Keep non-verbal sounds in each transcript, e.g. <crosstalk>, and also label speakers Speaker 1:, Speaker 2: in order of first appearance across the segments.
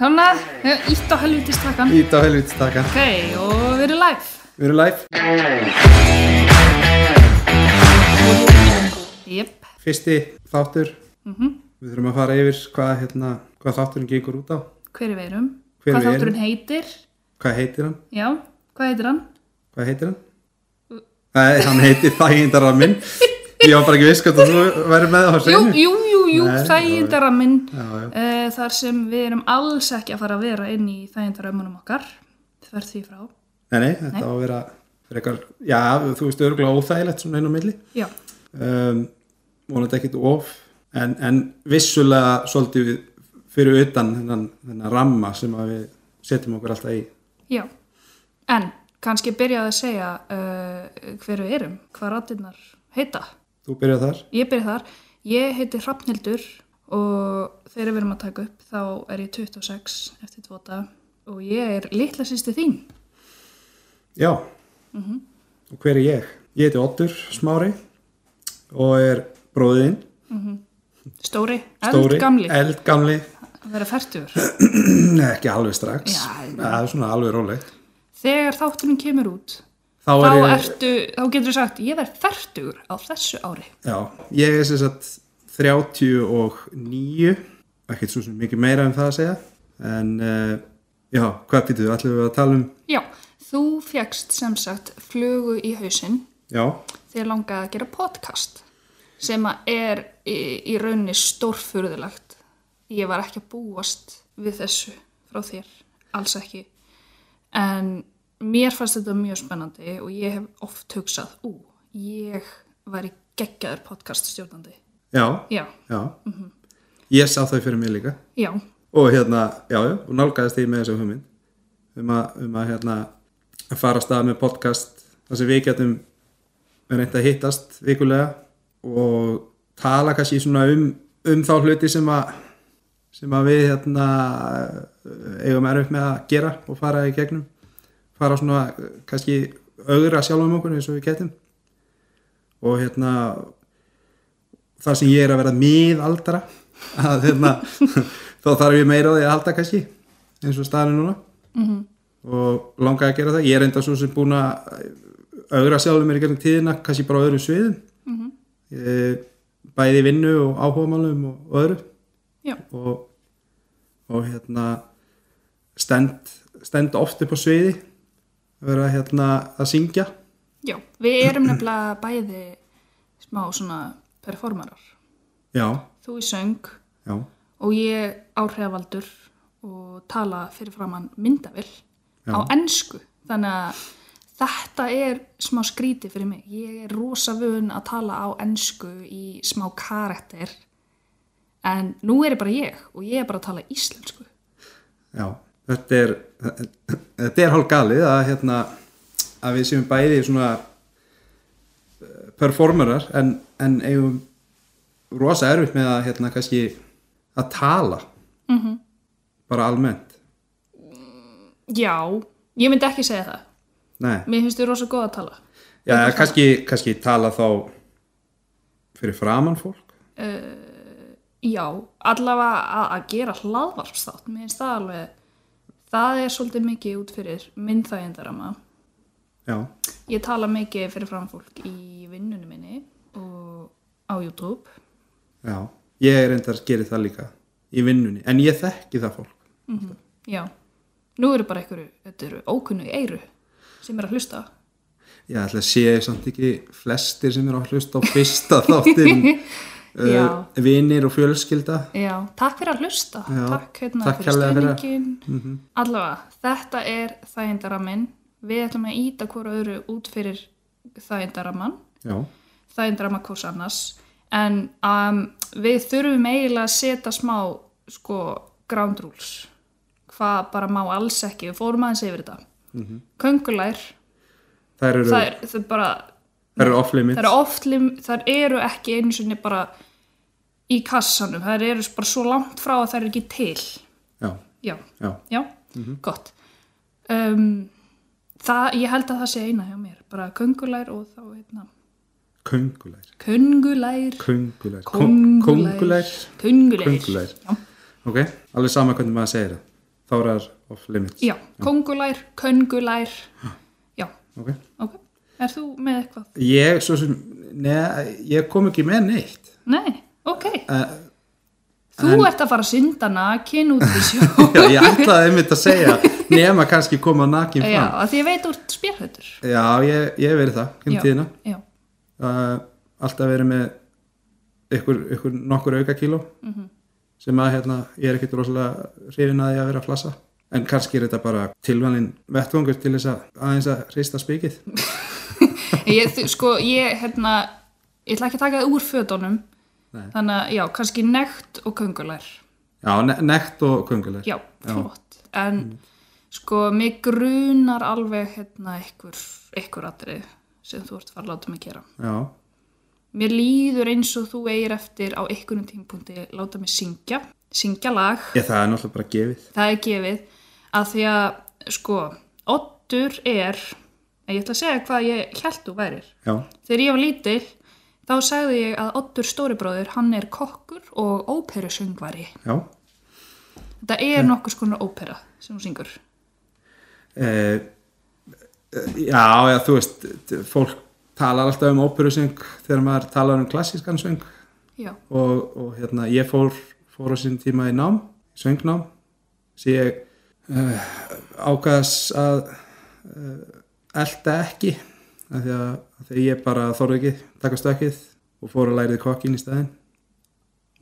Speaker 1: Þannig að ég hef ítt á helviti stakkan.
Speaker 2: Ít á helvítið taka
Speaker 1: Ok, og við erum live.
Speaker 2: Við erum live,
Speaker 1: Jep,
Speaker 2: fyrsti þáttur Við þurfum að fara yfir hvað, hérna, hvað þátturinn gengur út á
Speaker 1: hver er við erum?
Speaker 2: Hver
Speaker 1: hvað
Speaker 2: við erum?
Speaker 1: þátturinn heitir?
Speaker 2: Hvað heitir hann?
Speaker 1: Já, hvað heitir hann?
Speaker 2: Hvað heitir hann? Nei, hann heitir Þægindarraminn Ég var bara ekki viss hvort að þú væri með á
Speaker 1: Jú,
Speaker 2: sveinu
Speaker 1: jú, jú, jú,
Speaker 2: Nei,
Speaker 1: þægindaraminn.
Speaker 2: Já, já,
Speaker 1: Uh, þar sem við erum alls ekki að fara að vera inn í þægindarömmunum okkar. Þverð því frá.
Speaker 2: nei, nei, þetta á að vera frekar, já, þú veist örgulega óþægilegt svona inn á milli
Speaker 1: Já,
Speaker 2: um, vonandi ekkit of en, en vissulega svolítið fyrir utan þennan, þennan ramma sem að við setjum okkur alltaf í
Speaker 1: já. En kannski byrjaði að segja uh, hver við erum, hvað ratirnar heita.
Speaker 2: Þú byrjað þar?
Speaker 1: Ég byrja þar. Ég heiti Hrafnhildur og þegar við erum að taka upp þá er ég 26 eftir tvo dag og ég er litla sýsti þín.
Speaker 2: Já. Og hver er ég? Ég heiti Ottur Smári og er bróðin,
Speaker 1: Stóri,
Speaker 2: stóri,
Speaker 1: eldgamli,
Speaker 2: eldgamli, <clears throat>
Speaker 1: að vera færtur.
Speaker 2: Nei, ekki alveg strax,
Speaker 1: Já,
Speaker 2: Nei, það er svona alveg rólegt.
Speaker 1: Þegar þátturinn kemur út,
Speaker 2: Þá
Speaker 1: þá,
Speaker 2: er ég,
Speaker 1: ertu, þá getur þú sagt, ég verð færtur á þessu ári.
Speaker 2: já, ég er sem sagt 39, ekkert svo sem mikið meira en það að segja, en uh, já, hvað býtu, ætlum við að tala um,
Speaker 1: Já, þú fjækst sem sagt flugu í hausinn
Speaker 2: já,
Speaker 1: þegar langaði að gera podcast sem að er í, í rauninni stórfurðulegt. Ég var ekki að búast við þessu frá þér, alls ekki. En mér fannst þetta mjög spennandi og ég hef oft hugsað, ú, ég væri geggjaður podcast stjórnandi.
Speaker 2: já,
Speaker 1: Já,
Speaker 2: já,
Speaker 1: Mhm.
Speaker 2: ég sá þau fyrir mig líka.
Speaker 1: já,
Speaker 2: og hérna, já, já, og nálgæðist ég með þessu hugmynd um að, um að hérna að fara að stað með podcast þar sem við getum reynd að hittast vikulega og tala kannski svona um, um þá hluti sem að sem að við hérna eigum erfitt með að gera og fara í gegnum fara svona eh, kannski augra sjálfum okkur eins og við getum og hérna þar sem ég er að vera miðaldra að hérna þá þarf ég meira á því að halda kannski eins og staðinu núna -hmm. og langaði að gera það ég er enda svo sem búin að augra sjálfum mér í gegnum tíðina kannski bara á öðrum sviðum mm -hmm. bæði í vinnu og áhugamálum og, og öðru
Speaker 1: já,
Speaker 2: og, og hérna stend, stend oft upp á sviði vera hérna að syngja
Speaker 1: já. Við erum nefnilega bæði smá svona performarar.
Speaker 2: já,
Speaker 1: Þú í söng
Speaker 2: já,
Speaker 1: og ég áhrifaldur og tala fyrir framann myndavill
Speaker 2: Já.
Speaker 1: á ennsku þannig að þetta er smá skríti fyrir mig ég er rosa vun að tala á ennsku í smá karakter en nú er ég bara ég og ég er bara að tala íslensku
Speaker 2: já þetta er þetta er hálf galið að hérna að við séum bæði svona eh, performerar en, en eigum rosa erfitt með að hérna kannski að tala
Speaker 1: Mhm.
Speaker 2: bara almennt
Speaker 1: já, ég myndi ekki segja það
Speaker 2: nei,
Speaker 1: mér finnst þið rosa góð að tala
Speaker 2: já, kannski, kannski tala þá fyrir framann fólk
Speaker 1: já, allavega að, að gera hlaðvarpstátt mér finnst það alveg það er svolítið mikið út fyrir myndþægindarama
Speaker 2: já,
Speaker 1: Ég tala mikið fyrir fram fólk í vinnunum minni og á YouTube.
Speaker 2: já ég er reyndar að gera það líka í vinnunni, en ég þekki það fólk
Speaker 1: Já, nú eru bara einhverju, þetta eru ókunnu í eiru sem er að hlusta.
Speaker 2: ég ætla að sé samt ekki flestir sem eru að hlusta á
Speaker 1: <laughs>
Speaker 2: fyrsta þáttinn
Speaker 1: Já.
Speaker 2: uh, vinir og fjölskylda
Speaker 1: Já, takk fyrir að hlusta.
Speaker 2: Já,
Speaker 1: takk hérna
Speaker 2: takk
Speaker 1: fyrir
Speaker 2: kærlega fyrir. Mhm.
Speaker 1: stenningin. Allavega, þetta er þægindaraminn. Við ætlum að íta hvora öðru út fyrir þægindaramann.
Speaker 2: já
Speaker 1: það er drama hvers annars en um, við þurfum eiginlega að setja smá sko ground rules hvað bara má alls ekki við fórum aðeins yfir þetta köngulær,
Speaker 2: Þær eru,
Speaker 1: það
Speaker 2: þær,
Speaker 1: er, það er bara
Speaker 2: eru off-limit.
Speaker 1: það eru oft lim- þær eru ekki einu sinni bara í kassanum, það eru bara svo langt frá að það eru ekki til
Speaker 2: Já,
Speaker 1: já,
Speaker 2: já.
Speaker 1: já, gott um, það, ég held að það sé eina hjá mér, bara köngulær og þá heitna,
Speaker 2: Köngulær.
Speaker 1: köngulær
Speaker 2: Köngulær. Kó-
Speaker 1: Kóngulær.
Speaker 2: Kóngulær.
Speaker 1: Kóngulær.
Speaker 2: Köngulær.
Speaker 1: Já.
Speaker 2: Ok, alveg sama hvernig maður segir það. Tárar of limits
Speaker 1: Já, kongulær, köngulær Já,
Speaker 2: okay.
Speaker 1: ok Er þú með eitthvað?
Speaker 2: Ég, svo sem, neða, ég kom ekki með neitt
Speaker 1: Nei, ok
Speaker 2: uh,
Speaker 1: Þú ert að fara að synda nakin út í sjó
Speaker 2: <laughs> Já, ég ætlaði einmitt að segja
Speaker 1: <laughs>
Speaker 2: nema kannski koma nakin
Speaker 1: Já,
Speaker 2: fram
Speaker 1: af því ég veit úr spjörhættur
Speaker 2: Já, ég, ég hef verið það um
Speaker 1: Já,
Speaker 2: tíðina
Speaker 1: já,
Speaker 2: uh, alltaf verið með ykkur, ykkur nokkur auka kíló sem að hérna, ég er ekkert rosalega hrifin að ég að vera að flassa en kannski er þetta bara tilvalin vettvangur til þess að aðeins að hrista spikið
Speaker 1: ég, þú- sko, ég, hérna Ég ætla ekki að taka það úr fötunum
Speaker 2: Nei.
Speaker 1: Þannig að, já, kannski nekt og köngulær
Speaker 2: Já, ne nekt og kunguleg
Speaker 1: Já, flott En, sko, mig grunar alveg, hérna, ykkur, ykkur atrið sem þú ert að fara að láta mig gera
Speaker 2: Já,
Speaker 1: Mér líður eins og þú eigir eftir á einhvernum tímpunkti láta mig syngja, syngja lag,
Speaker 2: ég, það er náttúrulega bara gefið
Speaker 1: það er gefið, að því að sko, oddur er, en ég ætla að segja hvað ég held þú værir.
Speaker 2: Já,
Speaker 1: Þegar ég var lítil, þá sagði ég að oddur stóribróður, hann er kokkur og óperusöngvari.
Speaker 2: já
Speaker 1: Þetta er nokkus konar ópera sem hún syngur.
Speaker 2: eh, Já, já, þú veist fólk talar alltaf um óperusöng þegar maður talar um klassískan söng
Speaker 1: Já,
Speaker 2: og, og hérna ég fór, fór á sín tíma í nám, söngnám sem ég uh, ákvaðas að uh, elda ekki af því að, af því að ég bara þorði ekki taka stökkið og fór að lærið kokkin í staðinn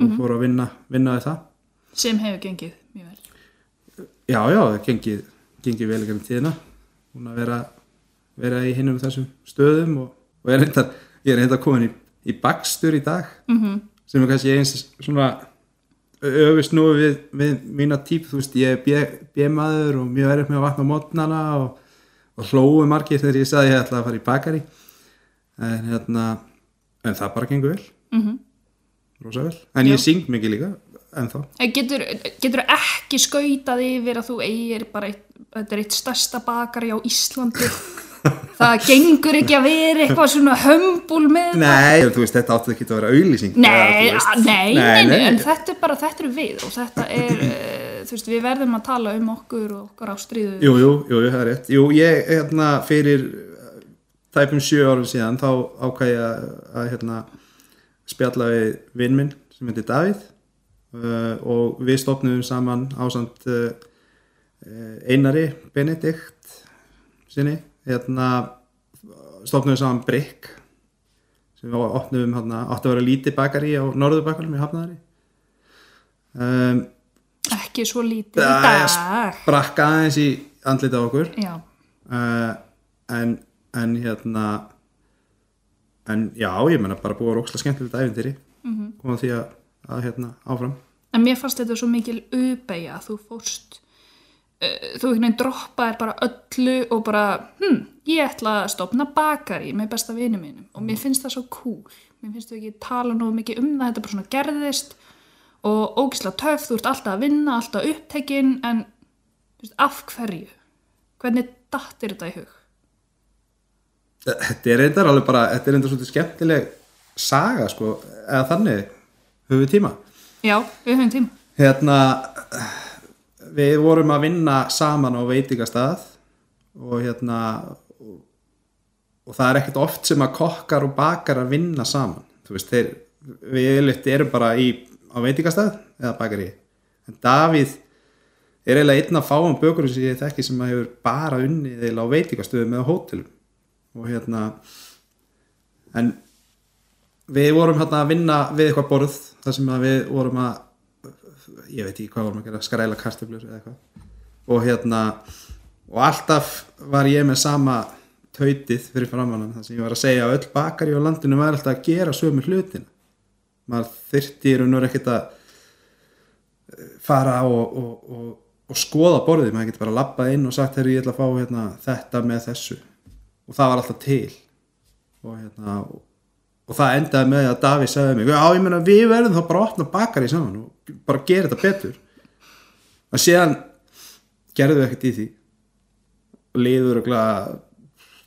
Speaker 2: og fór að vinna, vinna við það
Speaker 1: sem hefur gengið mjög vel.
Speaker 2: já, já, það gengið, gengið vel ekki um tíðina hún að vera, vera í hinum þessum stöðum og, og ég er reyndar, ég er reyndar komin í, í bakstur í dag
Speaker 1: Mm -hmm.
Speaker 2: sem er kannski eins svona öfust nú við, við mína típ, þú veist, ég er bjemaður og mjög verið með að vatna á mótnana og, og hlóu margir þegar ég sagði ég ætlaði að fara í bakari en hérna, en það bara gengur vel rosa vel, en ég syng mikið líka en þá,
Speaker 1: Getur, getur ekki skautað yfir að þú eigir bara eitt, þetta er eitt stærsta bakari á Íslandi
Speaker 2: <laughs>
Speaker 1: það gengur ekki að vera eitthvað svona hömbul með þetta.
Speaker 2: nei, þú veist, þetta átti ekki að vera auðlýsing
Speaker 1: Nei, a- nei, nei, nei, en
Speaker 2: nei,
Speaker 1: þetta er bara, þetta eru við og þetta
Speaker 2: <clears throat>
Speaker 1: er, uh, þú veist, við verðum að tala um okkur og okkar ástríðu
Speaker 2: Jú, jú, jú, jú, það er rétt. Jú, ég, hérna, fyrir eh, tæpum sjö árum síðan, þá ákvæði ég að, að, hérna, spjalla við vinn minn sem heitir Davíð uh, og við stopnum saman ásamt uh, eh, Einari Benedikt sinni, hérna, stopnum saman Brygg sem við opnum, hérna, átti að vera lítið bakari á Norðurbakalum í Hafnaðari. Um,
Speaker 1: ekki svo lítið í
Speaker 2: Það er
Speaker 1: dag
Speaker 2: brakka aðeins í andlita okkur
Speaker 1: Já,
Speaker 2: uh, en, en hérna en já, ég menna bara búið að róksla skemmtilegt æfintýri mm -hmm. koma því að, að hérna áfram
Speaker 1: en mér fannst þetta svo mikil uppeyja að þú fórst uh, þú einhvern veginn droppaðir bara öllu og bara, hm, ég ætla að stopna bakari með besta vinum mínum og mér finnst það svo cool, mér finnst þú ekki tala nú mikið um það, þetta bara svona gerðist og ógislega töf, þú ert alltaf að vinna alltaf upptekinn, en þú veist, af hverju hvernig dattir þetta í hug?
Speaker 2: þetta er reyndar alveg bara þetta er reyndar svolítið skemmtileg saga sko, eða þannig höfum við tíma
Speaker 1: Já, við höfum tíma
Speaker 2: hérna við vorum að vinna saman á veitingastað og hérna og, og það er ekkert oft sem að kokkar og bakar að vinna saman þú veist, þeir, við yfirleitt erum bara í, á veitingastað eða bakari en Davíð er eiginlega einn af fáum bökurum sem ég þekki sem að hefur bara unnið eiginlega á veitingastöðum eða hótelum og hérna en við vorum hérna að vinna við eitthvað borð þar sem að við vorum að ég veit ekki hvað vorum að gera, skræla kartöflur eða eitthvað og hérna og alltaf var ég með sama tautið fyrir framannan þar sem ég var að segja að öll bakari á landinu var alltaf að gera sömu hlutina maður þyrfti í raun og veru ekkert að eh, fara og, og, og, og skoða borðið, maður getur bara að labba inn og sagt þegar ég ætla að fá hérna, þetta með þessu og það var alltaf til og hérna og, og það endaði með að Davíð sagði mig já ég meina við verðum þá bara að opna bakari saman og bara gera þetta betur og síðan gerðum við ekkert í því og liður og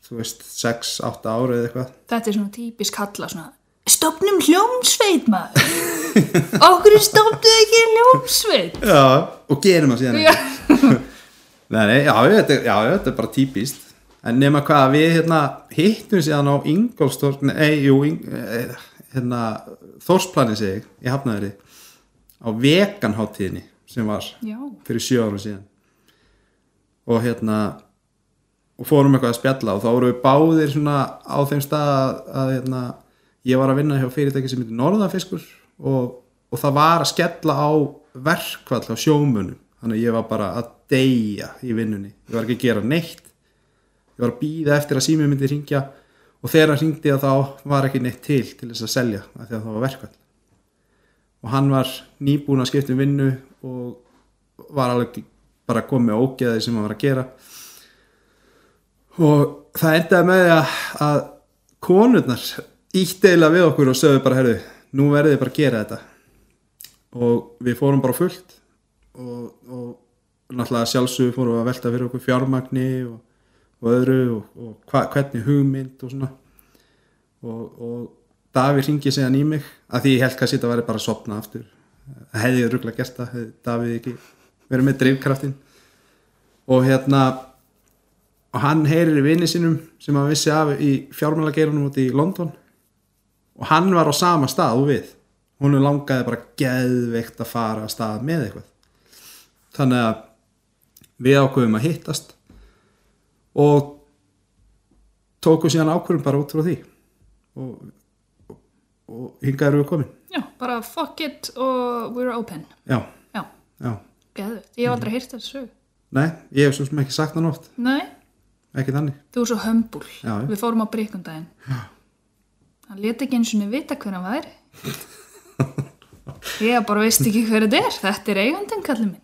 Speaker 2: þú veist 6-8 ára eða eitthvað
Speaker 1: Þetta er svona típisk kalla svona Stopnum hljómsveit maður Okkur stopnum ekki hljómsveit
Speaker 2: já. og gerum það síðan
Speaker 1: Já.
Speaker 2: ekki. <laughs> Nei, nei, já, já, þetta, er- já, já, þetta er bara típist En nema hvað, við hérna hittum síðan á Ingolstorg Nei, jú, Ing- eh, hérna Þórsplanin sig í Hafnaðri á veganháttíðinni sem var
Speaker 1: Já,
Speaker 2: fyrir sjö árum síðan og hérna og fórum eitthvað að spjalla og þá vorum við báðir svona á þeim stað að, að hérna, ég var að vinna hjá fyrirtæki sem heitir Norðafiskur og, og það var að skella á verkvall á sjómunum þannig að ég var bara að deyja í vinnunni ég var ekki að gera neitt ég var að býða eftir að sími myndi ringja og þegar hann ringdi að þá var ekki neitt til til þess að selja af því að það var verkvall og hann var nýbúin að skipta um vinnu og var alveg bara komið með ógeði sem hann var að gera og það endaði með því að, að konurnar íttdeila við okkur og sögðu bara herðu, nú verðið þið bara að gera þetta og við fórum bara á fullt og, og náttúrulega sjálfsögur fórum við að velta fyrir okkur fjármagni og, og öðru og, og hva, hvernig hugmynd og svona og, og Davíð ringi síðan í mig að því ég held kannski þetta væri bara að sopna aftur hefði ég rugla gert það hefði Davíð ekki verið með drifkraftin og hérna og hann heyrir í vini sínum sem hann vissi af í fjármælageiranum út í London og hann var á sama stað og við hún langaði bara geðveikt að fara að stað með eitthvað þannig að við ákveðum að hittast og tókum síðan ákveðum bara út frá því og, og, og hingað eru við komin
Speaker 1: já, bara fuck it og we're open.
Speaker 2: já,
Speaker 1: Já,
Speaker 2: já,
Speaker 1: geðvögt. Ég hef
Speaker 2: Mhm.
Speaker 1: aldrei hýrt þessu.
Speaker 2: nei, ég hef svo sem ekki sagt hann oft
Speaker 1: Nei,
Speaker 2: ekki þannig,
Speaker 1: þú er svo hömbul.
Speaker 2: Já, já.
Speaker 1: Við fórum á bryggundaginn. Já. Hann leti ekki eins og niður vita hver hann væri. <laughs> Ég bara veist ekki hver þetta er. Þetta er eigandinn, kallið minn.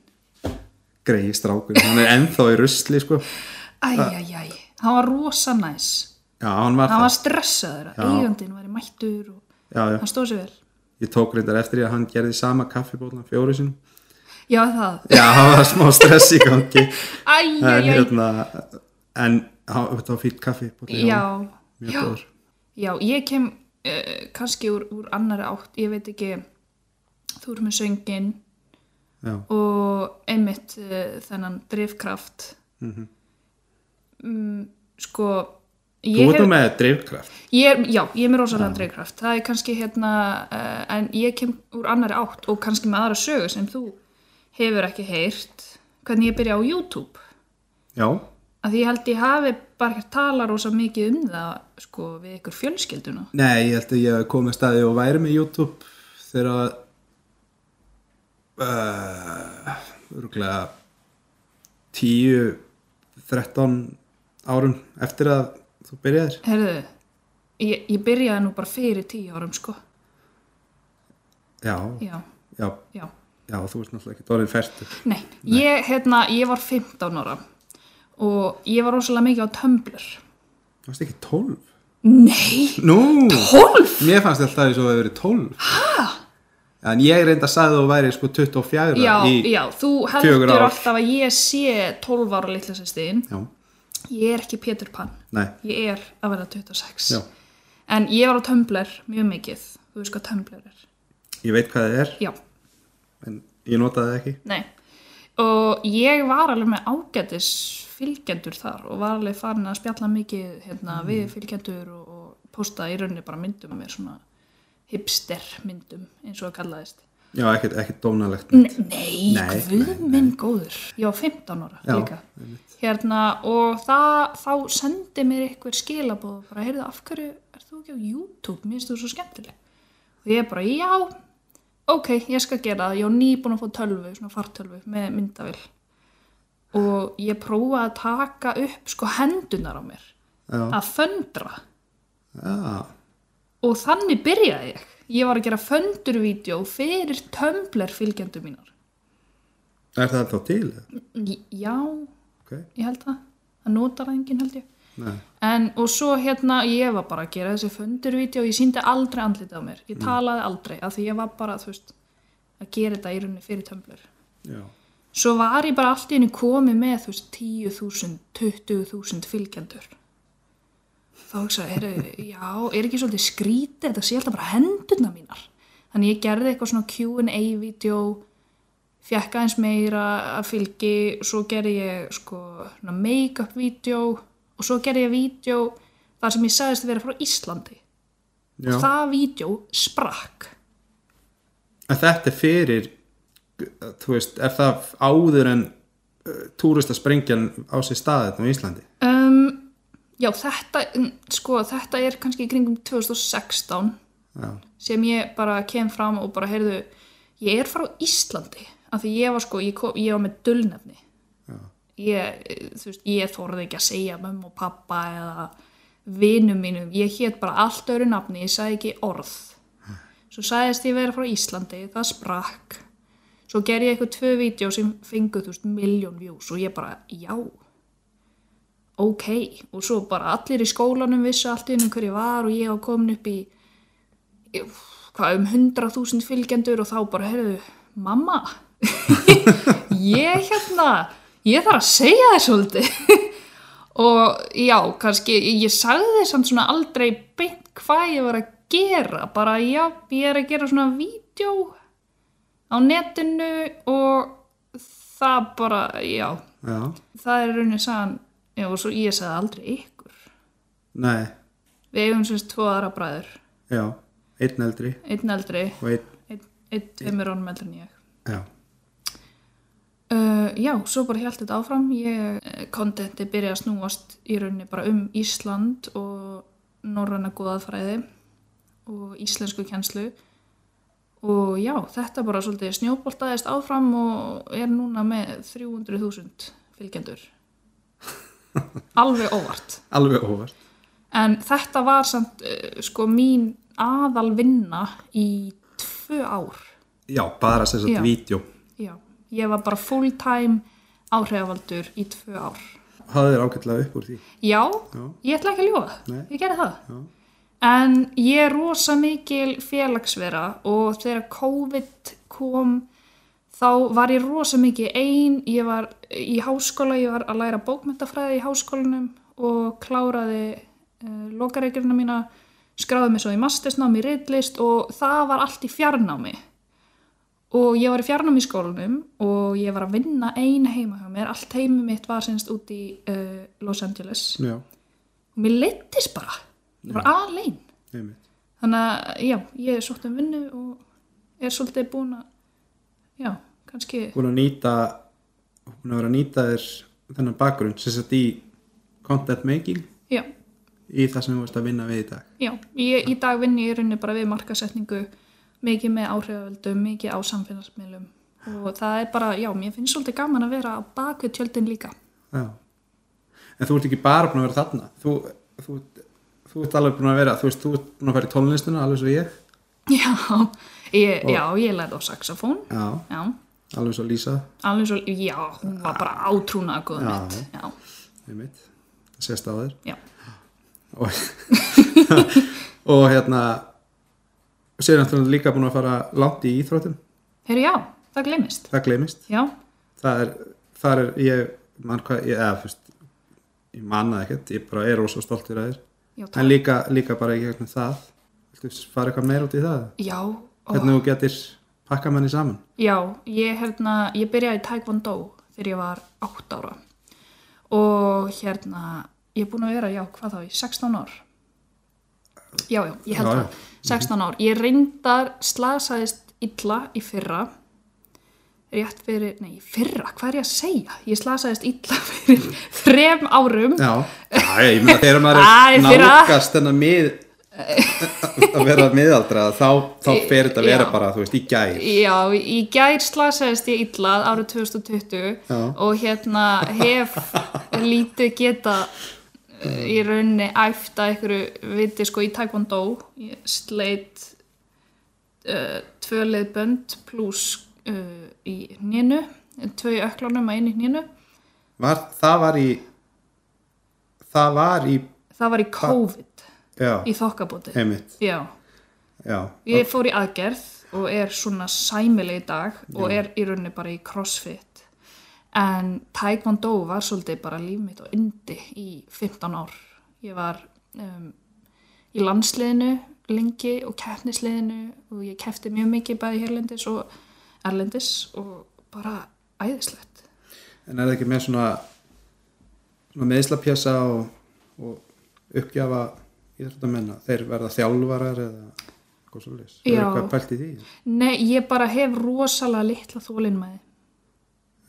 Speaker 2: greiði strákur hann er ennþá í rusli sko já,
Speaker 1: Æ, æ, æ, hann var rosa næs.
Speaker 2: hann var
Speaker 1: Hann
Speaker 2: það
Speaker 1: var stressaður að eigandinn væri mættur og
Speaker 2: já, já.
Speaker 1: hann stóð sér vel.
Speaker 2: ég tók reyndar eftir því að hann gerði sama kaffibólan fjóru sinum
Speaker 1: Já, það.
Speaker 2: já, hann var smá stress í
Speaker 1: <laughs>
Speaker 2: gangi
Speaker 1: Æ, æ,
Speaker 2: en
Speaker 1: æ,
Speaker 2: hérna en hann- þetta var fýtt kaffibólan
Speaker 1: já,
Speaker 2: mjög
Speaker 1: já,
Speaker 2: góður
Speaker 1: já, ég kem uh, kannski úr, úr annari átt, ég veit ekki, þú eru með söngin
Speaker 2: já,
Speaker 1: og einmitt uh, þennan drifkraft.
Speaker 2: Mhm.
Speaker 1: mm, sko,
Speaker 2: þú
Speaker 1: ég
Speaker 2: ert nú með drifkraft
Speaker 1: ég er, já, ég er með rosalega drifkraft, það er kannski hérna, uh, en ég kem úr annari átt og kannski með aðra sögu sem þú hefur ekki heyrt, hvernig ég byrja á YouTube.
Speaker 2: já,
Speaker 1: Að því ég held ég hafi bara ekki tala rosa mikið um það sko við ykkur fjölskylduna.
Speaker 2: nei, ég held að ég komið staði og væri með YouTube þegar að uh, örgulega 10 13 árum eftir að þú byrjaðir
Speaker 1: Herðu, ég, ég byrjaði nú bara fyrir tíu árum sko.
Speaker 2: já,
Speaker 1: Já,
Speaker 2: já,
Speaker 1: já.
Speaker 2: já, þú ert náttúrulega ekki dórið færtur
Speaker 1: Nei, ég, hérna, ég var 15 ára og ég var rosalega mikið á Tumblr.
Speaker 2: þú varst ekki 12
Speaker 1: Nei,
Speaker 2: Nú,
Speaker 1: 12?
Speaker 2: mér fannst alltaf eins og það hefur verið 12 Hæ? En ég reynda að sagði þú væri sko 24
Speaker 1: Já,
Speaker 2: í,
Speaker 1: já, þú
Speaker 2: fjögur
Speaker 1: heldur
Speaker 2: ár.
Speaker 1: alltaf að ég sé 12 ára litla sérstiðin.
Speaker 2: já,
Speaker 1: Ég er ekki Pétur Pann,
Speaker 2: nei,
Speaker 1: ég er að verða 26.
Speaker 2: Já.
Speaker 1: En ég var á Tumblr mjög mikið, þú veist hvað Tumblr er.
Speaker 2: ég veit hvað það er
Speaker 1: Já,
Speaker 2: En ég notaði það ekki
Speaker 1: Nei, og ég var alveg með ágætis fylgjendur þar og var alveg farin að spjalla mikið hérna, við fylgjendur og, og posta í rauninni bara myndum af mér svona hipster myndum eins og það kallaðist.
Speaker 2: Já, ekkert, ekkert dónalegt
Speaker 1: Nei, nei,
Speaker 2: Nei,
Speaker 1: guð minn góður. Ég var 15 ára
Speaker 2: Já,
Speaker 1: líka. Hérna, og það, þá sendi mér einhver skilabóð bara, heyrðu, af hverju er þú ekki á YouTube? Mér finnst þú svo skemmtileg. Og ég bara, já, ok, ég skal gera það. Ég var nýbúin að fá tölvu, svona fartölvu með myndavill. Og ég prófaði að taka upp sko hendunar á mér.
Speaker 2: Já.
Speaker 1: Að föndra.
Speaker 2: Já,
Speaker 1: Og þannig byrjaði ég. Ég var að gera föndurvídeó fyrir Tumblr fylgjendur mínar.
Speaker 2: er það þá til? eða?
Speaker 1: Í- Já,
Speaker 2: Ok,
Speaker 1: ég held það. Það notar það enginn held ég.
Speaker 2: nei,
Speaker 1: En, og svo hérna, ég var bara að gera þessi fundurvídeó og ég síndi aldrei andlitið á mér. Ég talaði aldrei, af því ég var bara, þú veist, að gera þetta í rauninni fyrir tömblur.
Speaker 2: já
Speaker 1: Svo var ég bara allt í henni komið með, þú veist, 10.000, 20.000 fylgjendur. Þá hugsaði, heyrðu, já, er ekki svolítið skrítið, þetta sé alltaf bara hendurna mínar. Þannig ég gerði eitthvað svona Q&A-vídeó fjekk aðeins meira að fylgi svo gerði ég sko svona make-up vídeo og svo gerði ég vídeo þar sem ég sagðist að vera frá Íslandi
Speaker 2: já.
Speaker 1: og það vídeo sprakk
Speaker 2: En þetta er fyrir þú veist, er það áður en uh, túristasprengjan á sér staðið á Íslandi
Speaker 1: um, já þetta mm, sko þetta er kannski í kringum 2016
Speaker 2: já,
Speaker 1: sem ég bara kem fram og bara heyrðu, ég er frá Íslandi af því ég var sko, ég, kom, ég var með dulnefni
Speaker 2: Já.
Speaker 1: ég, eh, þú veist, ég þorði ekki að segja mömmu og pappa eða vinum mínum, ég hét bara allt öru nafni, ég sagði ekki orð svo sagðist ég vera frá Íslandi það sprakk svo gerði ég eitthvað tvö vídeo sem fengu þú veist, miljón views og ég bara, já ok, og svo bara allir í skólanum vissu allt innum hver ég var og ég var komin upp í hvað um 100.000 fylgjendur og þá bara, heyrðu, mamma ég hérna ég þarf að segja þér svolítið <laughs> og já, kannski ég sagði þér samt svona aldrei beint hvað ég var að gera bara já, ég er að gera svona vídeo á netinu og það bara, já
Speaker 2: já,
Speaker 1: það er raunin sagan, já, og svo ég sagði aldrei ykkur,
Speaker 2: nei
Speaker 1: við eigum semst tvo aðra bræður,
Speaker 2: já, einn eldri
Speaker 1: einn eldri
Speaker 2: og einn,
Speaker 1: einn, einn tveimur honum eldri en ég
Speaker 2: já,
Speaker 1: Uh, já, svo bara held þetta áfram. Ég, eh, contenti byrjaði að snúast í rauninni bara um Ísland og norræna góðaðfræði og íslensku kjenslu og já, þetta bara svolítið snjóboltaðist áfram og er núna með 300.000 fylgjendur. Alveg óvart.
Speaker 2: alveg óvart
Speaker 1: En þetta var samt uh, sko mín aðalvinna í tvö ár.
Speaker 2: já, bara sem
Speaker 1: Já.
Speaker 2: sagt vídeo
Speaker 1: Já, ég var bara full time áhrifavaldur í tvö ár.
Speaker 2: hafði þér ágætlega upp úr því
Speaker 1: Já,
Speaker 2: Já.
Speaker 1: ég ætla ekki að ljóða,
Speaker 2: Nei.
Speaker 1: ég gerði það.
Speaker 2: Já.
Speaker 1: En ég er rosa mikil félagsvera og þegar COVID kom þá var ég rosa mikið ein, ég var í háskóla, ég var að læra bókmyndafræði í háskólanum og kláraði uh, lokareikirina mína, skráði mig svo í mastersnám í reyðlist og það var allt í fjarnámi. Og ég var í fjarnum í skólanum og ég var að vinna ein heima hjá mér. Allt heimum mitt var semst út í uh, Los Angeles.
Speaker 2: já,
Speaker 1: Og mér leittist bara. Ég var alein.
Speaker 2: einmitt
Speaker 1: Þannig að, já, ég er svolítið um vinnu og er svolítið búin að, já, kannski,
Speaker 2: búin að nýta búin að vera að nýta þér þennan bakgrunn sem sagt í content making
Speaker 1: já,
Speaker 2: í það sem þú veist að vinna við í dag
Speaker 1: já. Ég, í dag vinn ég í rauninni bara við markasetningu, mikið með áhrifavöldum, mikið á samfélagsmiðlum. Og það er bara, já, mér finnst svolítið gaman að vera á bakvið tjöldin líka. <laughs>
Speaker 2: já. en þú ert ekki bara búin að vera þarna þú, þú, þú ert alveg búin að vera þú veist, þú ert búin að fara í tónlistuna alveg svo ég
Speaker 1: Já, ég, já, ég lærði á saxofón.
Speaker 2: já,
Speaker 1: Já.
Speaker 2: alveg svo Lísa
Speaker 1: Alveg svo, já, hún var bara átrúna að góða
Speaker 2: Já.
Speaker 1: mitt. Já,
Speaker 2: einmitt, það sést á þér
Speaker 1: já,
Speaker 2: og, og <laughs> hérna sér náttúrulega líka búin að fara langt í íþróttum,
Speaker 1: heyrðu já, það glemist.
Speaker 2: það gleymist
Speaker 1: Já,
Speaker 2: það er, það er ég mann hvað, ég, eða, fyrst, ég manna ekkert, ég bara er rosa stoltur að þér
Speaker 1: já,
Speaker 2: en
Speaker 1: takk.
Speaker 2: líka, líka bara í gegnum það viltu fara eitthvað meira út í það
Speaker 1: Já, ó,
Speaker 2: hvernig þú getur pakka manni saman
Speaker 1: já, ég, hérna, ég byrjaði í Taekwondo þegar ég var 8 ára og hérna, ég er búin að vera, já, hvað þá, í 16 ár. Já, já, ég held
Speaker 2: Já,
Speaker 1: það, 16 ár. Ég reyndar slasaðist illa í fyrra, rétt fyrir, nei, í fyrra, hvað er ég að segja? Ég slasaðist illa <laughs> fyrir þrem árum.
Speaker 2: já, já ég meina þegar
Speaker 1: Æ,
Speaker 2: maður er
Speaker 1: fyrir að-
Speaker 2: nálgast þennan mið að vera miðaldra þá, þá fer þetta að vera
Speaker 1: Já.
Speaker 2: bara, þú veist, í gæð
Speaker 1: Já, í gær slasaðist ég illa árið 2020
Speaker 2: Já.
Speaker 1: og hérna hef lítið geta eh, í rauninni æft að einhverju viti sko í taekwondo ég sleit uh, tvölið bönd pluss uh, í hninu tvö í öklunum að einu hninu
Speaker 2: var, það var í það var í
Speaker 1: það var í COVID
Speaker 2: já,
Speaker 1: í þokkabóti
Speaker 2: einmitt
Speaker 1: Já,
Speaker 2: já,
Speaker 1: ég fór í aðgerð og er svona sæmileg í dag og er í rauninni bara í crossfit en taekwondo var svolítið bara líf mitt og yndi í 15 ár ég var um, í landsliðinu lengi og keppnisliðinu og ég keppti mjög mikið bæði hérlendis og erlendis og bara æðislegt
Speaker 2: En er það ekki með svona, svona meðslapjasa og, og uppgjafa íþróttamenn að þeir verða þjálfarar eða eitthvað svolítið? Er
Speaker 1: Já.
Speaker 2: eitthvað pælt í því?
Speaker 1: Nei, ég bara hef rosalega litla þólinmæði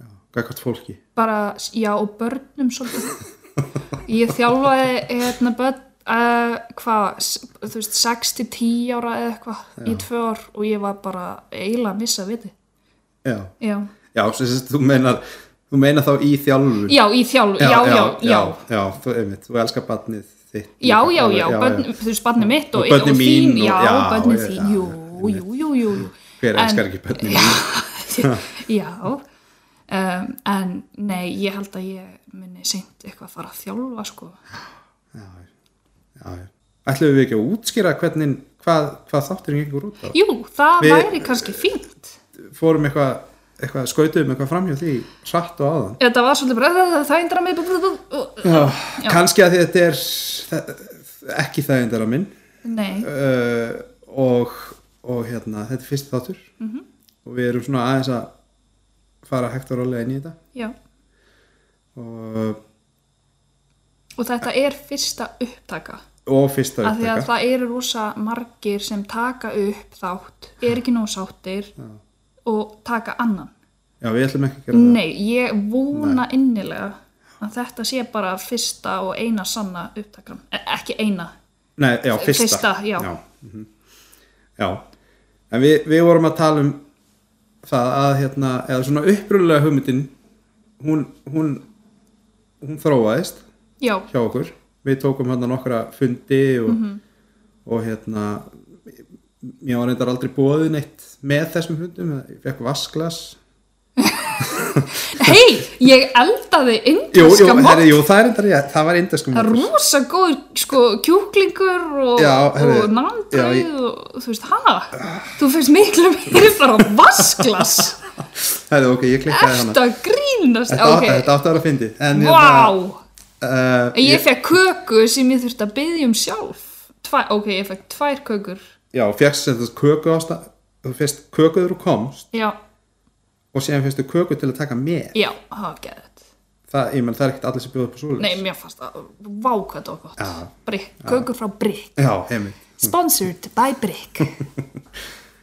Speaker 2: Já, gækvæmt fólki.
Speaker 1: bara, já, og börnum svolítið ég þjálfaði hérna börn uh, hvað, s- þú veist, 6 til 10 ára eða eitthvað í tvö ár og ég var bara eiginlega að missa viti
Speaker 2: Já,
Speaker 1: já,
Speaker 2: já sem sagt, þú meinar, þú meinar þá í þjálfun.
Speaker 1: já, í þjálf já, já, já,
Speaker 2: já,
Speaker 1: já.
Speaker 2: já, þú, einmitt, þú elskar barnið þitt.
Speaker 1: Já, já,
Speaker 2: Alveg,
Speaker 1: já, börn, þú veist, barnið mitt og,
Speaker 2: Og börnin mín og-
Speaker 1: þín, já,
Speaker 2: já,
Speaker 1: börnin
Speaker 2: já,
Speaker 1: þín,
Speaker 2: já,
Speaker 1: jú,
Speaker 2: já,
Speaker 1: jú, jú, jú, jú.
Speaker 2: Hver
Speaker 1: En-
Speaker 2: elskar ekki börnið mín?
Speaker 1: já, <laughs> um, en nei, ég held að ég muni seint eitthvað fara að þjálfa, sko.
Speaker 2: Já, já, já. Ætlum við ekki að útskýra hvernig, hvað, hvað þátturinn gengur út á?
Speaker 1: Jú, það
Speaker 2: Við-
Speaker 1: væri kannski fínt.
Speaker 2: Fórum eitthvað, eitthvað skautum eitthvað framhjá því hratt og áðan.
Speaker 1: Þetta var svolítið bara, "Æ, það endra mig, bú, bú, bú, bú.
Speaker 2: Já, kannski að því þetta er þa- ekki þægindara minn
Speaker 1: nei,
Speaker 2: uh, og, og hérna, þetta er fyrst þáttur
Speaker 1: Mhm.
Speaker 2: -hmm. og við erum svona aðeins að fara hægt og rólega inn í þetta
Speaker 1: já.
Speaker 2: og,
Speaker 1: Og þetta er fyrsta upptaka.
Speaker 2: og fyrsta
Speaker 1: Af því að
Speaker 2: upptaka
Speaker 1: það eru rosa margir sem taka upp þátt, er ekki nóg sáttir og taka annan.
Speaker 2: Já, við ætlum ekki að gera það
Speaker 1: Nei, ég vona innilega að þetta sé bara fyrsta og eina sanna upptakan. E ekki eina.
Speaker 2: Nei, já, fyrsta,
Speaker 1: Fyrsta, já.
Speaker 2: Já, mhm. já. en við, við vorum að tala um það að hérna, eða svona upprunalega hugmyndin hún, hún, hún þróaðist
Speaker 1: Já,
Speaker 2: <laughs> hjá okkur við tókum hérna nokkra fundi og,
Speaker 1: Mhm.
Speaker 2: og hérna ég var reyndar aldrei bóðið neitt með þessum fundum, ég fekk vasklas
Speaker 1: hei, ég eldaði
Speaker 2: jú, jú,
Speaker 1: indriska
Speaker 2: herri,
Speaker 1: mat.
Speaker 2: jú, það er reyndar ég, það var indeskum
Speaker 1: Það er rosa góður, sko, kjúklingur og,
Speaker 2: Já, herri,
Speaker 1: og
Speaker 2: já,
Speaker 1: nándrið
Speaker 2: ég-
Speaker 1: og þú veist, ha? Þú finnst miklu meiri bara vasklas.
Speaker 2: <laughs> herri, ok, ég klikkaði hana
Speaker 1: Ertu að grínast?
Speaker 2: þetta,
Speaker 1: Ok,
Speaker 2: átti, þetta átti að vera fyndi en, hérna,
Speaker 1: vá.
Speaker 2: uh,
Speaker 1: En ég fekk köku sem ég þurfti að byggja um sjálf. Tvæ, ok, ég fekk tvær kökur.
Speaker 2: já, fegst sem þetta köku ásta þú fyrst kökuður og komst
Speaker 1: Já,
Speaker 2: og síðan fyrstu köku til að taka með
Speaker 1: já, það var geðið.
Speaker 2: það, ég menn, það er ekkert allir sem bjóða upp á svoleiðis
Speaker 1: Nei, mér fannst það vákvæmt og gott.
Speaker 2: Já.
Speaker 1: Brick, kökur frá Brick.
Speaker 2: já, heimilt
Speaker 1: Sponsored by
Speaker 2: <laughs>
Speaker 1: Brick.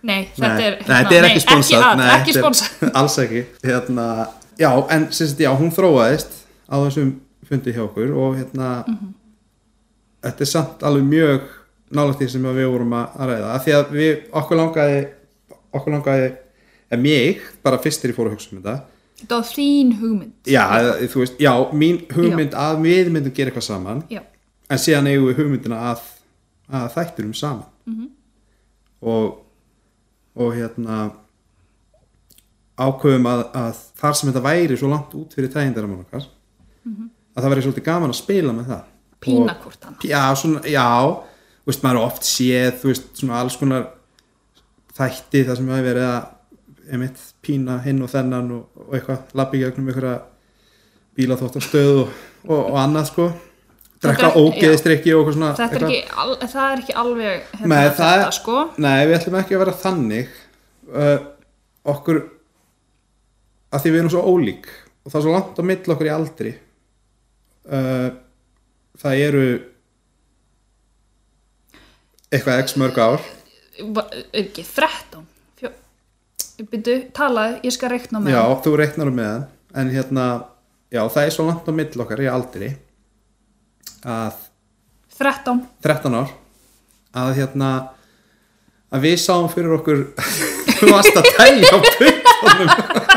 Speaker 1: nei, þetta
Speaker 2: Nei,
Speaker 1: er...
Speaker 2: nei, þetta er ekki sponsað
Speaker 1: Ekki, að,
Speaker 2: nei,
Speaker 1: ekki
Speaker 2: þetta er-
Speaker 1: sponsað.
Speaker 2: <laughs> Alls ekki hérna, Já, en sérst, já, hún þróaðist á þessum fundi hjá okkur og hérna
Speaker 1: Mhm.
Speaker 2: þetta er samt alveg mjög nálægt því sem að við vorum að að ræða af því að við, okkur langaði okkur langaði, eða mig bara fyrst þegar ég fór að hugsa um þetta
Speaker 1: Þetta var þín hugmynd.
Speaker 2: Já, eða, þú veist, já, mín hugmynd að við myndum gera eitthvað saman
Speaker 1: Já,
Speaker 2: en síðan eigum við hugmyndina að, að þætturum saman -hmm. og og hérna ákveðum að, að þar sem þetta væri svo langt út fyrir tægindaramál okkar að það væri svolítið gaman að spila með það
Speaker 1: Pína
Speaker 2: Og-
Speaker 1: hvort annað.
Speaker 2: já, svona, já, þú veist, maður er oft séð þú veist, svona alls konar þætti þar sem hafi verið að einmitt, pína hinn og þennan og, og eitthvað, labbi í gegnum einhverja bílaþóttastöð og, og, og annað sko, drekka
Speaker 1: Þetta er-
Speaker 2: ógeðistrykki og eitthvað svona
Speaker 1: þetta er
Speaker 2: eitthvað.
Speaker 1: ekki, al, það er ekki alveg hérna,
Speaker 2: Nei,
Speaker 1: þetta,
Speaker 2: það,
Speaker 1: sko.
Speaker 2: nei, við ætlum ekki að vera þannig uh, okkur að því við erum svo ólík og það er svo langt á milli okkur í aldri uh, það eru eitthvað x mörg ár
Speaker 1: Va- Ekki, 13. Fjó... Byrju, talaði, ég skal reikna með.
Speaker 2: já, þú reiknar um með það en hérna, já, það er svo langt á milli okkar í aldri að
Speaker 1: 13.
Speaker 2: 13 ár að hérna að við sáum fyrir okkur <laughs> þú varst að tæja puttunum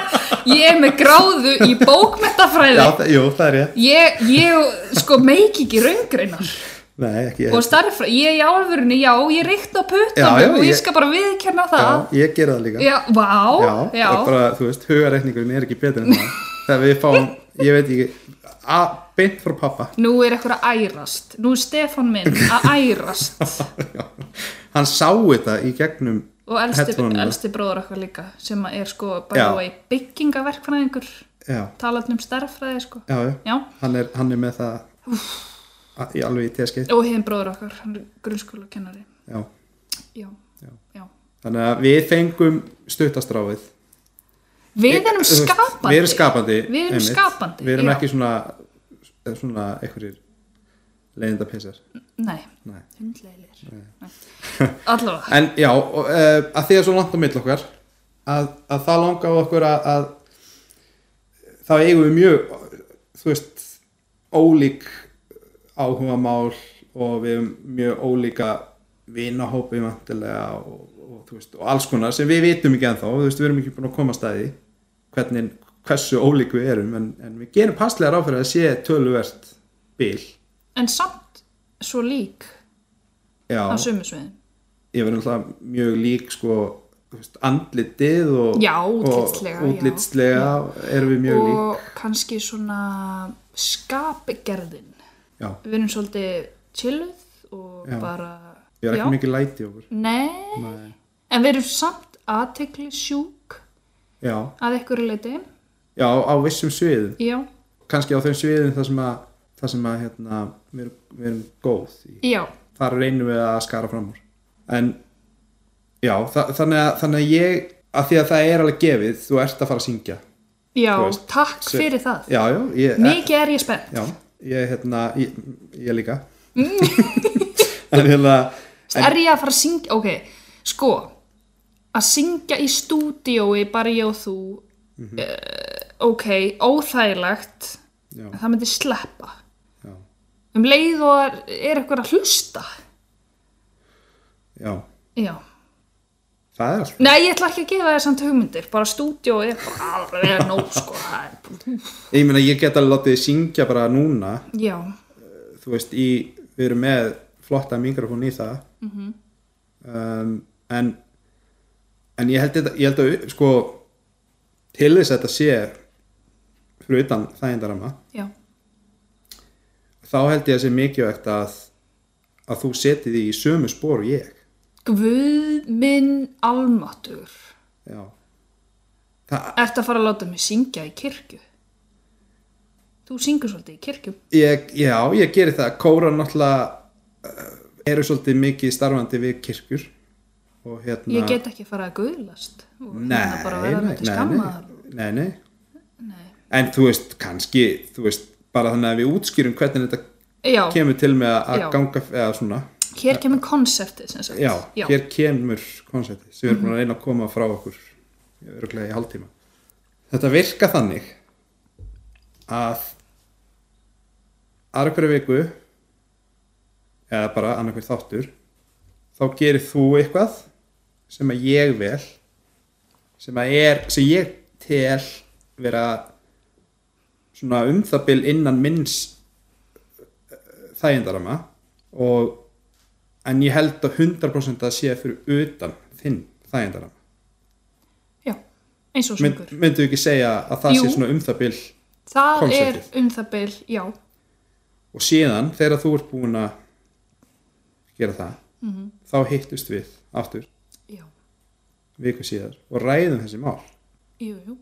Speaker 1: Ég er með gráðu í bókmettafræði.
Speaker 2: Já, það, jú, það er ég
Speaker 1: Ég, ég sko meiki ekki raungreinar
Speaker 2: <laughs> Nei, ekki ég
Speaker 1: og starffra, ég í álfurinni, já, ég reikna
Speaker 2: Já, já,
Speaker 1: puttanum og ég
Speaker 2: ég-
Speaker 1: skal bara viðkenna það.
Speaker 2: Já, ég gera það líka
Speaker 1: Já, vá,
Speaker 2: það
Speaker 1: já,
Speaker 2: er bara, þú veist, hugareikningurinn er ekki betur
Speaker 1: <laughs>
Speaker 2: en það Þegar við fáum, ég veit ekki að, beint frá pappa
Speaker 1: Nú er eitthvað að ærast, nú er Stefán minn að ærast
Speaker 2: <laughs> Já. Hann sá þetta í gegnum
Speaker 1: og elsti,
Speaker 2: headphone-una.
Speaker 1: elsti bróður okkar líka sem að er sko bara
Speaker 2: Já.
Speaker 1: á í byggingaverkfræðingur,
Speaker 2: Já,
Speaker 1: talandi um starffræði sko.
Speaker 2: já, já,
Speaker 1: Já,
Speaker 2: Hann, er, hann er með það að- í alveg í teskið
Speaker 1: og hinn bróður okkar, hann er grunnskóla kennari.
Speaker 2: Já,
Speaker 1: Já,
Speaker 2: Já.
Speaker 1: já.
Speaker 2: þannig að við fengum stuttastráfið
Speaker 1: Við erum
Speaker 2: Þú veist,
Speaker 1: skapandi.
Speaker 2: Við erum skapandi
Speaker 1: Við erum
Speaker 2: einmitt.
Speaker 1: skapandi,
Speaker 2: Við erum
Speaker 1: já.
Speaker 2: ekki svona, svona einhverjir leiðinda pissar
Speaker 1: Nei,
Speaker 2: Nei.
Speaker 1: hundleilir. Allavega,
Speaker 2: En já, og, uh, að því að svo langt á mill okkar að, að það langa á okkur að, að það eigum við mjög þú veist, ólík áhugamál og við erum mjög ólíka vinahópi vantilega og, og, þú veist, og alls konar sem við vitum ekki ennþá þú veist, við erum ekki búin að koma staði hvernig, hversu ólík við erum en, en við gerum passlega ráð fyrir að sé töluvert bil
Speaker 1: en samt svo lík
Speaker 2: já,
Speaker 1: á sömu sviðin.
Speaker 2: ég verður náttúrulega mjög lík sko þú veist, andlitið og,
Speaker 1: Já,
Speaker 2: og
Speaker 1: útlitslega, já.
Speaker 2: útlitslega erum við mjög lík
Speaker 1: Og kannski svona skapgerðin.
Speaker 2: já,
Speaker 1: Við erum svolítið chilluð og
Speaker 2: Já.
Speaker 1: bara...
Speaker 2: við erum
Speaker 1: Já.
Speaker 2: ekki mikið læti í okkur
Speaker 1: Nei,
Speaker 2: Nei.
Speaker 1: en við erum samt aðtekli sjúk
Speaker 2: já,
Speaker 1: að einhverju leiti.
Speaker 2: já, á vissum sviðum
Speaker 1: Já,
Speaker 2: kannski á þeim sviðum þar sem að þar sem að hérna, við, erum, við erum góð í.
Speaker 1: já,
Speaker 2: þar reynum við að skara fram úr en já, þa þannig, að, þannig að ég að því að það er alveg gefið, þú ert að fara að syngja
Speaker 1: já,
Speaker 2: Þú veist,
Speaker 1: takk
Speaker 2: se-
Speaker 1: fyrir það.
Speaker 2: já, já, ég, eh,
Speaker 1: Mikið er ég spennt.
Speaker 2: já, ég, hérna, ég, ég líka
Speaker 1: Mm.
Speaker 2: <laughs> en hérna en,
Speaker 1: er ég að fara að syngja ok, sko að syngja í stúdíói bara ég og þú mm
Speaker 2: Mhm.
Speaker 1: ok, óþægilegt
Speaker 2: já,
Speaker 1: en það myndi sleppa
Speaker 2: já,
Speaker 1: um leið og er, er eitthvað að hlusta
Speaker 2: já
Speaker 1: já,
Speaker 2: Það er alltaf.
Speaker 1: nei ég ætla ekki að gefa þér samt hugmyndir bara stúdíói er bara alveg nóg sko, það er,
Speaker 2: Ég meina, ég get alveg látið þig syngja bara núna,
Speaker 1: já,
Speaker 2: þú veist, í, við erum með flotta mikrofón í það. um, en, en ég held, þetta, ég held að, sko, til þess að þetta sé fyrir utan þægindarama,
Speaker 1: já,
Speaker 2: þá held ég að sé mikilvægt að, að þú setið því í sömu spór og ég.
Speaker 1: guð minn almatur
Speaker 2: Já. Það,
Speaker 1: ertu að fara að láta mig syngja í kirkju þú syngur svolítið í kirkju
Speaker 2: ég, já, ég geri það. Kóra náttúrulega uh, eru svolítið mikið starfandi við kirkjur og hérna...
Speaker 1: Ég get ekki fara að guðlast og hérna
Speaker 2: nei,
Speaker 1: bara verða
Speaker 2: nei,
Speaker 1: með til
Speaker 2: nei,
Speaker 1: skamma
Speaker 2: nei, nei,
Speaker 1: Nei.
Speaker 2: en þú veist, kannski þú veist, bara þannig að við útskýrum hvernig þetta
Speaker 1: Já,
Speaker 2: kemur til með að
Speaker 1: Já.
Speaker 2: ganga eða svona,
Speaker 1: hér kemur konseptið sem sagt
Speaker 2: já,
Speaker 1: já,
Speaker 2: hér kemur konceptið sem við erum búin að reyna að koma frá okkur örgulega í hálftíma þetta virka þannig að aðra hverju viku eða bara annar hver þáttur þá gerir þú eitthvað sem að ég vel sem að er, sem ég tel vera svona um það bil innan minns eh, þægindarama og en ég held að 100% að sé fyrir utan þinn þægindarama
Speaker 1: já, eins og
Speaker 2: Mynd,
Speaker 1: syngur
Speaker 2: myndu ekki segja að það
Speaker 1: Jú.
Speaker 2: sé svona um það bil
Speaker 1: Það
Speaker 2: Konseptið.
Speaker 1: er um það bil, já
Speaker 2: og síðan þegar þú ert búin að gera það þá hittust við aftur
Speaker 1: Já,
Speaker 2: viku síðar og ræðum þessi mál
Speaker 1: jú, jú,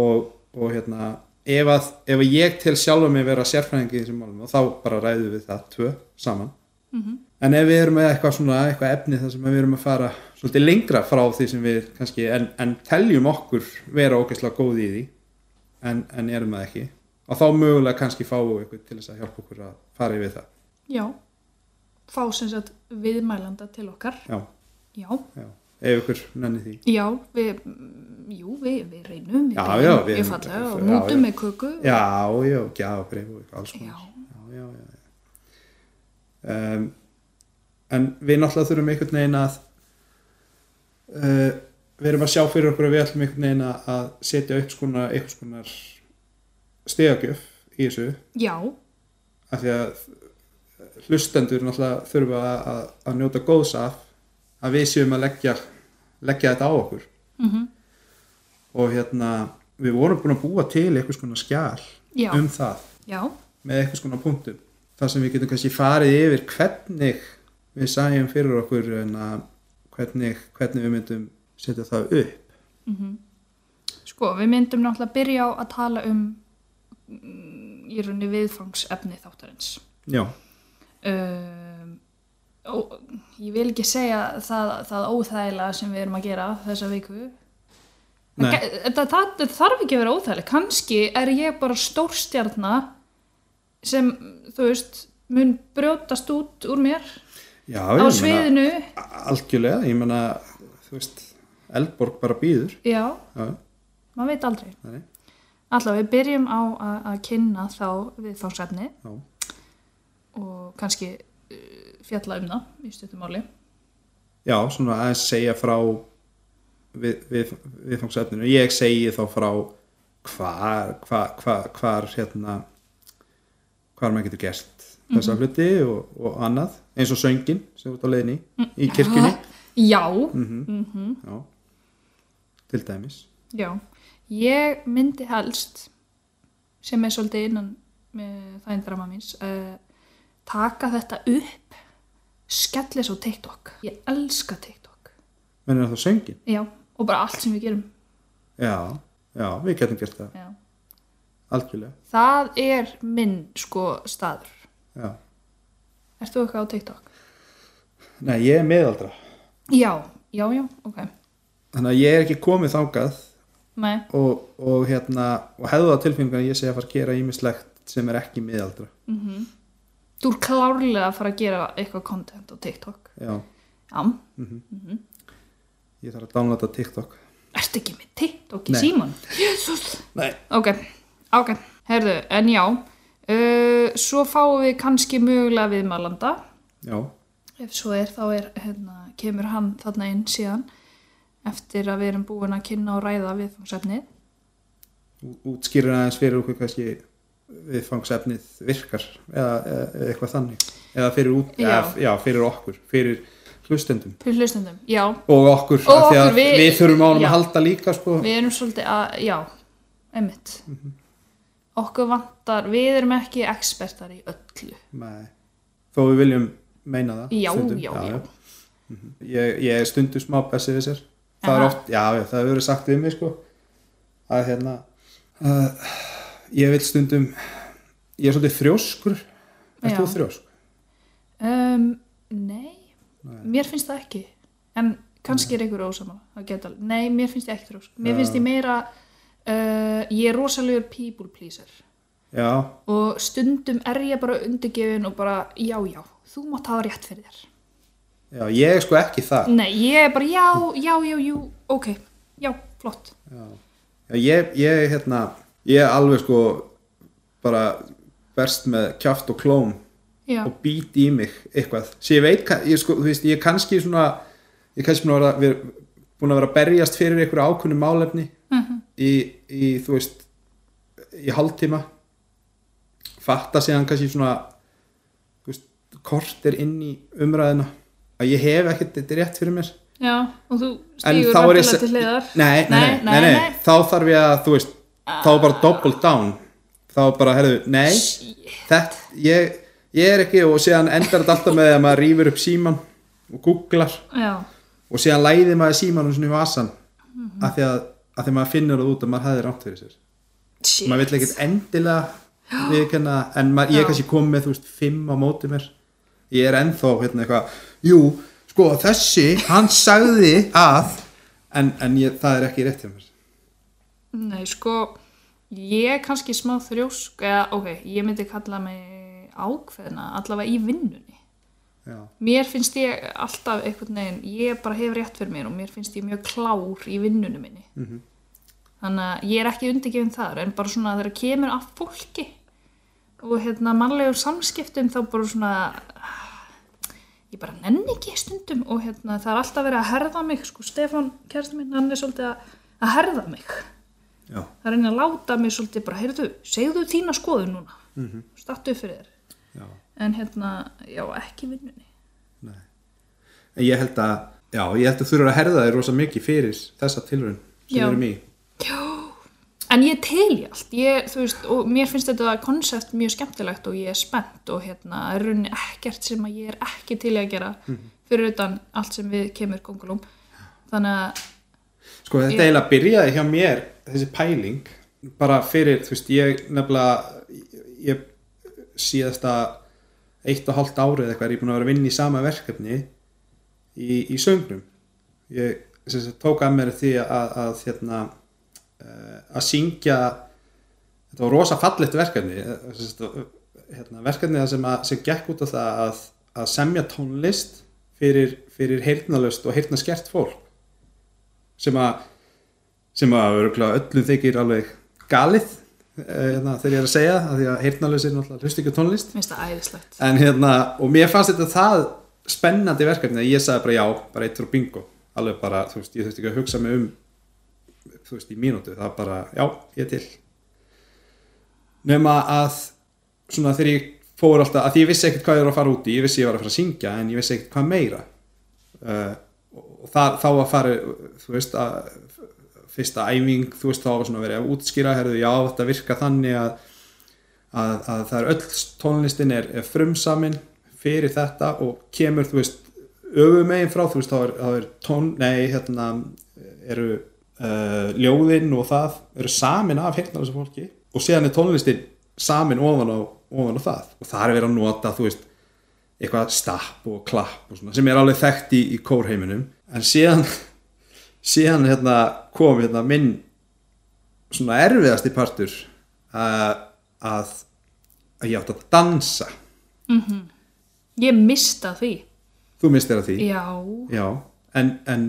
Speaker 2: og, og hérna ef, að, ef að ég til sjálfa mig vera sérfræðingi í þessum málum og þá bara ræðum við það tvö saman -hmm. en ef við erum með eitthvað svona eitthvað efni þar sem við erum að fara svolítið lengra frá því sem við kannski en, en teljum okkur vera ógeðslega góð í því en, en erum það ekki og þá mögulega kannski fáum við eitthvað til þess að hjálpa okkur að fara yfir það
Speaker 1: já Fá sem sagt viðmælanda til okkar
Speaker 2: já,
Speaker 1: Já,
Speaker 2: já, ef ykkur nenni því
Speaker 1: já, við mm, Jú, við, við reynum
Speaker 2: Já,
Speaker 1: við
Speaker 2: já,
Speaker 1: við
Speaker 2: við-
Speaker 1: falla og
Speaker 2: já,
Speaker 1: mútum
Speaker 2: já.
Speaker 1: með köku
Speaker 2: já, já, gjafbrif og eitthvað alls konar
Speaker 1: Já.
Speaker 2: já, já, já, já. Um, en við náttúrulega þurfum einhvern veginn að uh, við erum að sjá fyrir okkur að við ætlum einhvern veginn að að setja upp skona, einhvers konar stegagjöf í þessu
Speaker 1: Já,
Speaker 2: af því að hlustendur náttúrulega þurfa að, að, að njóta góðs af að við séum að leggja, leggja þetta á okkur
Speaker 1: mhm,
Speaker 2: og hérna við vorum búin að búa til einhvers konar skjál
Speaker 1: Já.
Speaker 2: um það
Speaker 1: já,
Speaker 2: með eitthvað svona punktum þar sem við getum kannski farið yfir hvernig við sæjum fyrir okkur en að hvernig, hvernig við myndum setja það upp
Speaker 1: mhm. Sko, við myndum náttúrulega byrja á að tala um mm, í rauninni viðfangsefni þáttarins.
Speaker 2: já,
Speaker 1: Um, og ég vil ekki segja það, það óþægilega sem við erum að gera þessa viku,
Speaker 2: Nei.
Speaker 1: Það, það, það, það þarf ekki að vera óþægileg kannski er ég bara stórstjarna sem, þú veist mun brjótast út úr mér
Speaker 2: Já,
Speaker 1: á
Speaker 2: ég meina,
Speaker 1: sviðinu
Speaker 2: algjörlega, ég meina, þú veist, Eldborg bara býður.
Speaker 1: já,
Speaker 2: Já, já,
Speaker 1: maður veit aldrei
Speaker 2: Nei.
Speaker 1: allavega við byrjum á að að kynna þá viðfangsefni
Speaker 2: já.
Speaker 1: og kannski uh, fjalla um það í stuttumáli
Speaker 2: Já, svona aðeins segja frá við, við, viðfangsefninu. Ég segi þá frá hvar, hvar, hvar, hvar hérna, hvar maður getur gert þessa hluti og, og annað, eins og söngin sem þú ert á leiðinni í, í kirkjunni. Mhm.
Speaker 1: já,
Speaker 2: Já, til dæmis.
Speaker 1: já ég myndi helst sem er svolítið innan með þægindrama míns uh, taka þetta upp skellis á TikTok ég elska TikTok
Speaker 2: Menir það söngin?
Speaker 1: já, og bara allt sem við gerum
Speaker 2: Já, já, við getum gert það,
Speaker 1: já.
Speaker 2: algjörlega.
Speaker 1: það er minn sko staður
Speaker 2: Já.
Speaker 1: ert þú eitthvað á TikTok?
Speaker 2: Nei, ég er meðaldra.
Speaker 1: já, já, já, ok
Speaker 2: Þannig að ég er ekki komið þangað
Speaker 1: Nei.
Speaker 2: og, og, hérna, og hefðu það tilfengar að ég segja að fara að gera ímislegt sem er ekki miðaldra.
Speaker 1: þú er klárlega að fara að gera eitthvað content á TikTok
Speaker 2: Já,
Speaker 1: já,
Speaker 2: ég þarf að downloada TikTok.
Speaker 1: ert ekki með TikTok í
Speaker 2: Nei.
Speaker 1: síman? jésus
Speaker 2: Nei.
Speaker 1: Ok, ok, herðu, en já, uh, svo fáum við kannski mögulega viðmælanda,
Speaker 2: Já,
Speaker 1: ef svo er þá er, hérna, kemur hann þarna inn síðan eftir að við erum búin að kynna og ræða viðfangsefnið.
Speaker 2: ú- útskýrir aðeins fyrir okkur kannski viðfangsefnið virkar eða, eða, eða eitthvað þannig. Eða fyrir, út,
Speaker 1: Já.
Speaker 2: Eða, já, fyrir okkur, fyrir hlustendum.
Speaker 1: Fyrir hlustendum, já,
Speaker 2: Og okkur,
Speaker 1: Og
Speaker 2: af því
Speaker 1: okkur,
Speaker 2: að
Speaker 1: við-
Speaker 2: við þurfum ánum
Speaker 1: já.
Speaker 2: að halda líka sko.
Speaker 1: við erum svolítið að, já, einmitt. Okkur vantar, við erum ekki ekspertar í öllu.
Speaker 2: Nei. Þó við viljum meina það
Speaker 1: Já, já, já.
Speaker 2: Ég, ég er stundu smá bessi við sér Það er
Speaker 1: Aha.
Speaker 2: oft, já, já, það hefur verið sagt við mig sko að hérna uh, ég vil stundum ég er svolítið þrjóskur
Speaker 1: Já.
Speaker 2: Erst þú þrjósk?
Speaker 1: Um, nei,
Speaker 2: Nei.
Speaker 1: mér finnst það ekki en kannski er einhver ósamála það geta alveg, nei, mér finnst ég ekki þrjósk mér finnst ég meira uh, ég er rosalegur people pleaser
Speaker 2: Já,
Speaker 1: og stundum er ég bara undirgefin og bara, já, já, þú mátt hafa rétt fyrir þér
Speaker 2: já, ég er sko ekki það
Speaker 1: nei, ég er bara, já, já, já, já ok, já, flott
Speaker 2: Já, já ég, ég hérna ég er alveg sko bara verst með kjaft og klóm
Speaker 1: já,
Speaker 2: og být í mig eitthvað sem ég veit, ka- ég, sko, þú veist, ég er kannski svona ég er kannski búin að vera, vera, búin að vera að berjast fyrir einhverju ákunni málefni
Speaker 1: mhm.
Speaker 2: í, í, þú veist í hálftíma fatta síðan kannski svona þú veist, kortir inn í umræðina að ég hef ekkert þetta rétt fyrir mér
Speaker 1: já og þú
Speaker 2: en
Speaker 1: stígur
Speaker 2: þá er
Speaker 1: vantilega
Speaker 2: ég
Speaker 1: til hliðar
Speaker 2: nei, nei, nei, nei, nei,
Speaker 1: nei. Ah.
Speaker 2: þá þarf ég að, þú veist þá er bara double down þá er bara, herðu, nei þetta, ég, ég er ekki og síðan endar þetta alltaf með að maður rýfur upp síman og googlar
Speaker 1: já,
Speaker 2: og síðan læði maður símanum svona í vasan
Speaker 1: Mhm.
Speaker 2: af því að, að því að maður finnur það út að maður hefði rátt fyrir sér
Speaker 1: shit,
Speaker 2: maður vill ekkert endilega viðkenna, en maður, ég
Speaker 1: Já.
Speaker 2: er kannski kom með þú veist, fimm á móti mér ég er ennþá hérna eitthvað jú, sko þessi, hann sagði að en, en ég, það er ekki rétt hjá mér
Speaker 1: nei, sko ég er kannski smá þrjósk eða, ok, ég myndi kalla mig ákveðna, allavega í vinnunni
Speaker 2: já,
Speaker 1: mér finnst ég alltaf einhvern veginn, ég bara hef rétt fyrir mér og mér finnst ég mjög klár í vinnunum minni
Speaker 2: Mhm.
Speaker 1: þannig að ég er ekki undirgefin þar en bara svona þegar kemur að fólki og hérna mannlegur samskiptum þá bara svona ég bara nenni ekki stundum og hérna það er alltaf verið að herða mig sko Stefán kærstu minn hann er svolítið að, að herða mig
Speaker 2: já,
Speaker 1: það er að láta mig svolítið bara heyrðu, segðu þína skoðun núna mm -hmm. stattu fyrir þér
Speaker 2: já
Speaker 1: en hérna, já ekki í vinnunni
Speaker 2: Nei. En ég held að, já, ég held að þurfa að herða þér rosa mikið fyrir þessa tilraun sem
Speaker 1: Já.
Speaker 2: við erum í.
Speaker 1: En ég tel í allt, ég, þú veist, og mér finnst þetta konsept mjög skemmtilegt og ég er spennt og hérna, er runni ekkert sem að ég er ekki til í að gera fyrir utan allt sem við kemur kongulum. Þannig að,
Speaker 2: Sko, þetta eiginlega byrjaði hjá mér, þessi pæling, bara fyrir, þú veist, ég nefnilega, ég síðasta eitt og hálft árið eða eitthvað er ég búin að vera að vinna í sama verkefni í, í söngnum. Ég sem sagt, tók að mér því að, að hérna, eh, að syngja þetta var rosa fallegt verkefni eh, sem sagt, hérna, verkefni sem, að, sem gekk út af það að, að semja tónlist fyrir, fyrir heyrnalöst og heyrnaskert fólk sem að sem að örugglega öllum þykir alveg galið eh, hérna, þegar ég er að segja af því að heyrnalösir náttúrulega hlust ekki á tónlist
Speaker 1: finnst það æðislegt
Speaker 2: en hérna, og mér fannst þetta það spennandi verkefni að ég sagði bara já bara eitt og bingo, alveg bara þú veist, ég þurfti ekki að hugsa mig um þú veist, í mínútu, það var bara, já, ég er til nema að svona þegar ég fór alltaf, að því ég vissi ekkert hvað ég var að fara út í ég vissi ég var að fara að syngja, en ég vissi ekkert hvað meira uh, og það, þá að fara þú veist, að fyrsta æfing, þú veist, þá var svona verið að útskýra, herðu, já, þetta virka þannig að að, að það er öll tónlistin er, er frumsamin fyrir þetta og kemur þú veist öfum megin frá þú veist þá er, þá er tón, nei hérna eru uh, ljóðin og það eru samin af hérna þessu fólki og síðan er tónlistin samin ofan á, ofan á það og það er verið að nota þú veist eitthvað stapp og klapp og svona sem er alveg þekkt í, í kórheiminum en síðan <laughs> síðan hérna kom hérna minn svona erfiðasti partur uh, að, að ég átt að dansa
Speaker 1: ég mista því
Speaker 2: þú minnst þér að því
Speaker 1: já,
Speaker 2: já, en, en,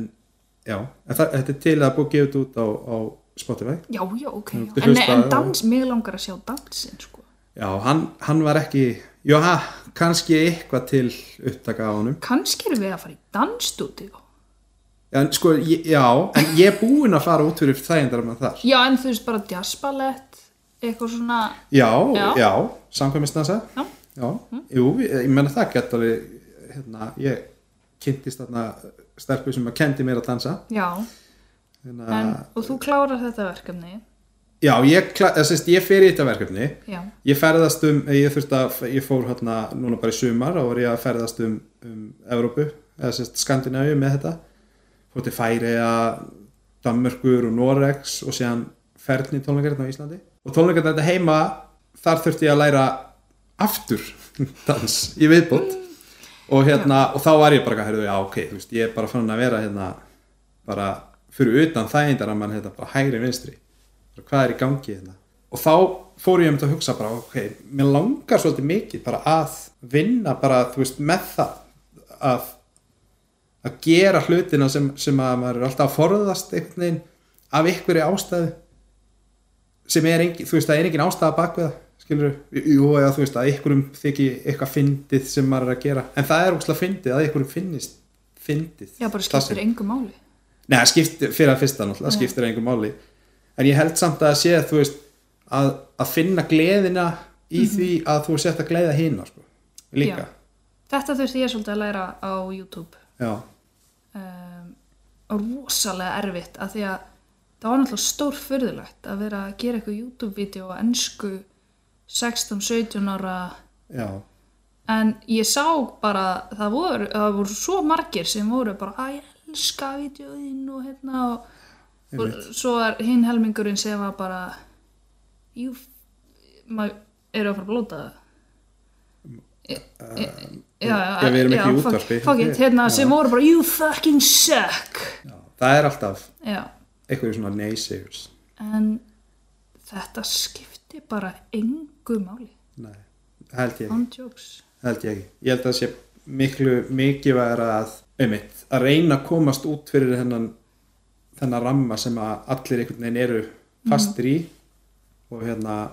Speaker 2: já, en það, þetta er til að búið gefið út á, á Spotify
Speaker 1: já, já, ok
Speaker 2: Þú ert að
Speaker 1: en,
Speaker 2: hlusta
Speaker 1: en
Speaker 2: á-
Speaker 1: dans, mig langar að sjá dansin sko.
Speaker 2: já, hann, hann var ekki já, ha, kannski eitthvað til upptaka á honum
Speaker 1: kannski erum við að fara í dansstúdíu
Speaker 2: en, sko, ég, já, en ég er búinn að fara út fyrir þægindar með þar
Speaker 1: já, en þú veist bara jazzballett eitthvað svona
Speaker 2: já, já,
Speaker 1: Já.
Speaker 2: já samkvæmistansa
Speaker 1: já,
Speaker 2: Já, jú, ég, ég menna það gett alveg, hérna, ég kynntist þarna stelpu sem að kendi mér að dansa
Speaker 1: já.
Speaker 2: hérna,
Speaker 1: En, og þú klárar þetta verkefni
Speaker 2: Já, ég, kla- eða, sérst, ég fer í þetta verkefni
Speaker 1: já,
Speaker 2: ég ferðast um, ég þurfti að ég fór hérna núna bara í sumar og var ég að ferðast um, um Evrópu eða sérst Skandinavíu með þetta fór til Færiða, Danmörkur og Noregs og síðan ferðni tónleikarinn á Íslandi og tónleikarinn þetta heima, þar þurfti ég að læra aftur <laughs> dans í viðbútt og hérna, og þá var ég bara, hérna, já ok þú veist, ég er bara fann að vera hérna bara fyrir utan þægindar að mann hérna bara hægri vinstri, bara, hvað er í gangi hérna og þá fór ég um þetta að hugsa bara, ok, mér langar svolítið mikið bara að vinna bara, þú veist, með það að að gera hlutina sem, sem að maður er alltaf að forðast einhvern veginn af einhverju ástæðu sem er engin, þú veist, það er engin ástæða bak við það, skilur, jú, já, þú veist, að einhverjum þykji eitthvað fyndið sem maður er að gera, en það er ógslag fyndið að einhverjum finnist fyndið.
Speaker 1: já bara
Speaker 2: Það sem-
Speaker 1: skiptir engu máli
Speaker 2: Nei, það skiptir, fyrir að fyrsta náttúrulega, það skiptir engum máli en ég held samt að það sé, þú veist að, að finna gleðina
Speaker 1: Mhm.
Speaker 2: í því að þú sett að gleða hina sko, líka,
Speaker 1: Já. þetta þurfti ég svolítið að læra á YouTube
Speaker 2: já, já,
Speaker 1: um, rosalega erfitt að því að það var náttúrulega stór fyrðulegt að vera að gera eitthvað YouTube-vídeó á ennsku 16-17 ára en ég sá bara að það voru, það voru svo margir sem voru bara að ég elska vídeóin og hérna og, og svo er hinn helmingurinn sem var bara jú, maður eru að fara að blóta það Já, já,
Speaker 2: Um, Já, við erum ekki í
Speaker 1: fuck-
Speaker 2: útvarpi.
Speaker 1: fuck it, hérna, sem voru bara you fucking suck
Speaker 2: já það er alltaf
Speaker 1: já,
Speaker 2: einhverju svona naysayers
Speaker 1: en þetta skipti bara engu máli
Speaker 2: Nei, held ég,
Speaker 1: on jokes
Speaker 2: held ég ekki ég held að það sé miklu mikið væri að, einmitt, að reyna að komast út fyrir hennan þennan ramma sem að allir einhvern veginn eru fastir í og hérna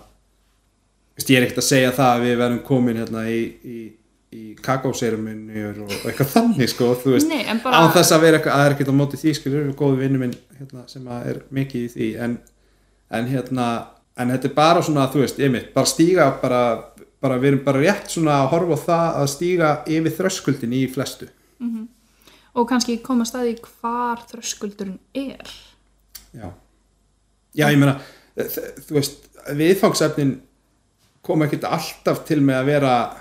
Speaker 2: veist, ég er ekkert að segja það að við verðum komin hérna í, í, í kakóserumunir og og eitthvað þannig sko, þú veist,
Speaker 1: Nei, en bara-
Speaker 2: á þess að vera eitthvað- að það er ekkert á móti því, skilur við góðu vinnu minn hérna, sem að er mikið í því en, en hérna, en þetta er bara svona, þú veist, einmitt, bara stíga bara, bara, við erum bara rétt svona að horfa á það að stíga yfir þröskuldin í flestu,
Speaker 1: og kannski koma að staði hvar þröskuldurinn er
Speaker 2: já já, ég meina, þ- þú veist viðfangsefnin kom ekkert alltaf til með að vera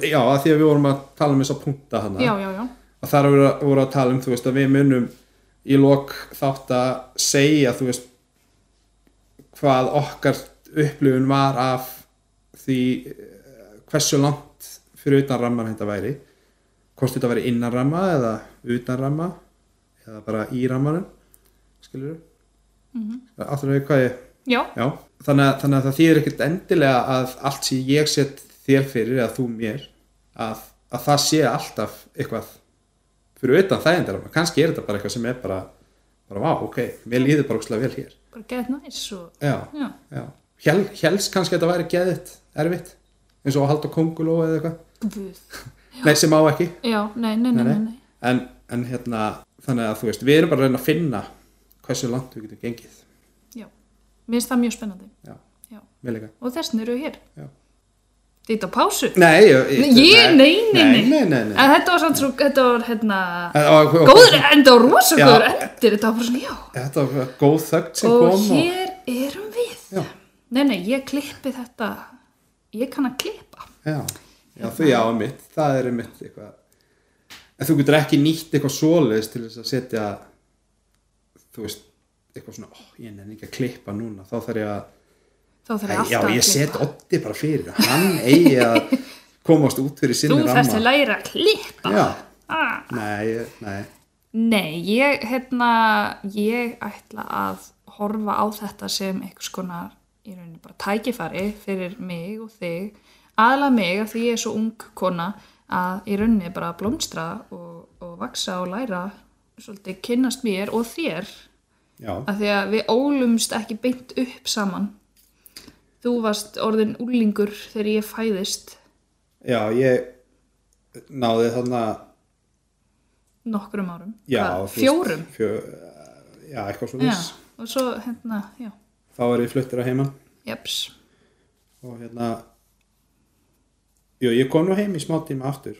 Speaker 2: já, að því að við vorum að tala um þess að punta hana
Speaker 1: já, já, já,
Speaker 2: að þar voru, voru að tala um þú veist að við munum í lok þátt að segja þú veist hvað okkar upplifun var af því eh, hversu langt fyrir utan ramman þetta væri hvort þetta væri innan ramma eða utan ramma eða bara í rammanum skilur Áttur að við hvað ég
Speaker 1: Já,
Speaker 2: Já, þannig að, þannig að það þýðir ekkert endilega að allt sem ég set þér fyrir eða þú mér að, að það sé alltaf eitthvað fyrir utan þægindarama, kannski er þetta bara eitthvað sem er bara, bara vá, ok, mér líður bara ókslega vel hér
Speaker 1: bara get næs og
Speaker 2: Já,
Speaker 1: já,
Speaker 2: já, Hjel, helst kannski að þetta væri geðitt, erfitt eins og að halda konguló eða eitthvað
Speaker 1: guð.
Speaker 2: Nei, sem á ekki
Speaker 1: Já, nei, nei, nei, nei, nei.
Speaker 2: En, en hérna, þannig að þú veist, við erum bara að reyna að finna hversu langt við getum gengið
Speaker 1: Já, mér finnst það mjög spennandi.
Speaker 2: Já,
Speaker 1: Já,
Speaker 2: mér líka
Speaker 1: og þessin eru við hér.
Speaker 2: Já.
Speaker 1: Þetta á pásu.
Speaker 2: Nei, ég,
Speaker 1: Ég- nei, nei, nei.
Speaker 2: nei, nei, nei.
Speaker 1: En þetta var samt svo, þetta var hérna,
Speaker 2: En- og- og-
Speaker 1: góður enda og rosa
Speaker 2: Já.
Speaker 1: góður endir, þetta var bara svona, já.
Speaker 2: Þetta var góð þögt sem
Speaker 1: og
Speaker 2: kom og...
Speaker 1: hér erum við.
Speaker 2: Já.
Speaker 1: Nei, nei, ég klippi þetta, ég kann að klippa.
Speaker 2: Já, já þau já, mitt, það er mitt eitthvað En þú getur ekki nýtt eitthvað svoleiðis til þess að setja þú veist, eitthvað svona ó, ég nefn ekki að klippa núna þá þarf ég að,
Speaker 1: Þá þarf ég
Speaker 2: já,
Speaker 1: alltaf að klippa.
Speaker 2: ég set Oddi bara fyrir, hann eigi að
Speaker 1: <laughs>
Speaker 2: komast út fyrir
Speaker 1: Þú
Speaker 2: sinni ramma
Speaker 1: þarfst að læra að klippa.
Speaker 2: Já,
Speaker 1: Ah.
Speaker 2: nei, ég- nei
Speaker 1: Nei, ég, hérna, ég ætla að horfa á þetta sem einhvers konar, í rauninni bara tækifæri fyrir mig og þig, aðla mig af því ég er svo ung kona að í rauninni bara blómstra og, og vaksa og læra, svolítið kynnast mér og þér,
Speaker 2: Já,
Speaker 1: af því að við ólumst ekki beint upp saman. Þú varst orðin úlingur þegar ég fæðist
Speaker 2: já, ég náði þarna
Speaker 1: nokkrum árum.
Speaker 2: já,
Speaker 1: Hvað,
Speaker 2: þú veist,
Speaker 1: Fjórum.
Speaker 2: fjö, Já, eitthvað svo
Speaker 1: Já, og svo hérna, já,
Speaker 2: Þá er ég fluttir að heiman
Speaker 1: jeps.
Speaker 2: og hérna jú, ég kom nú heim í smá tíma aftur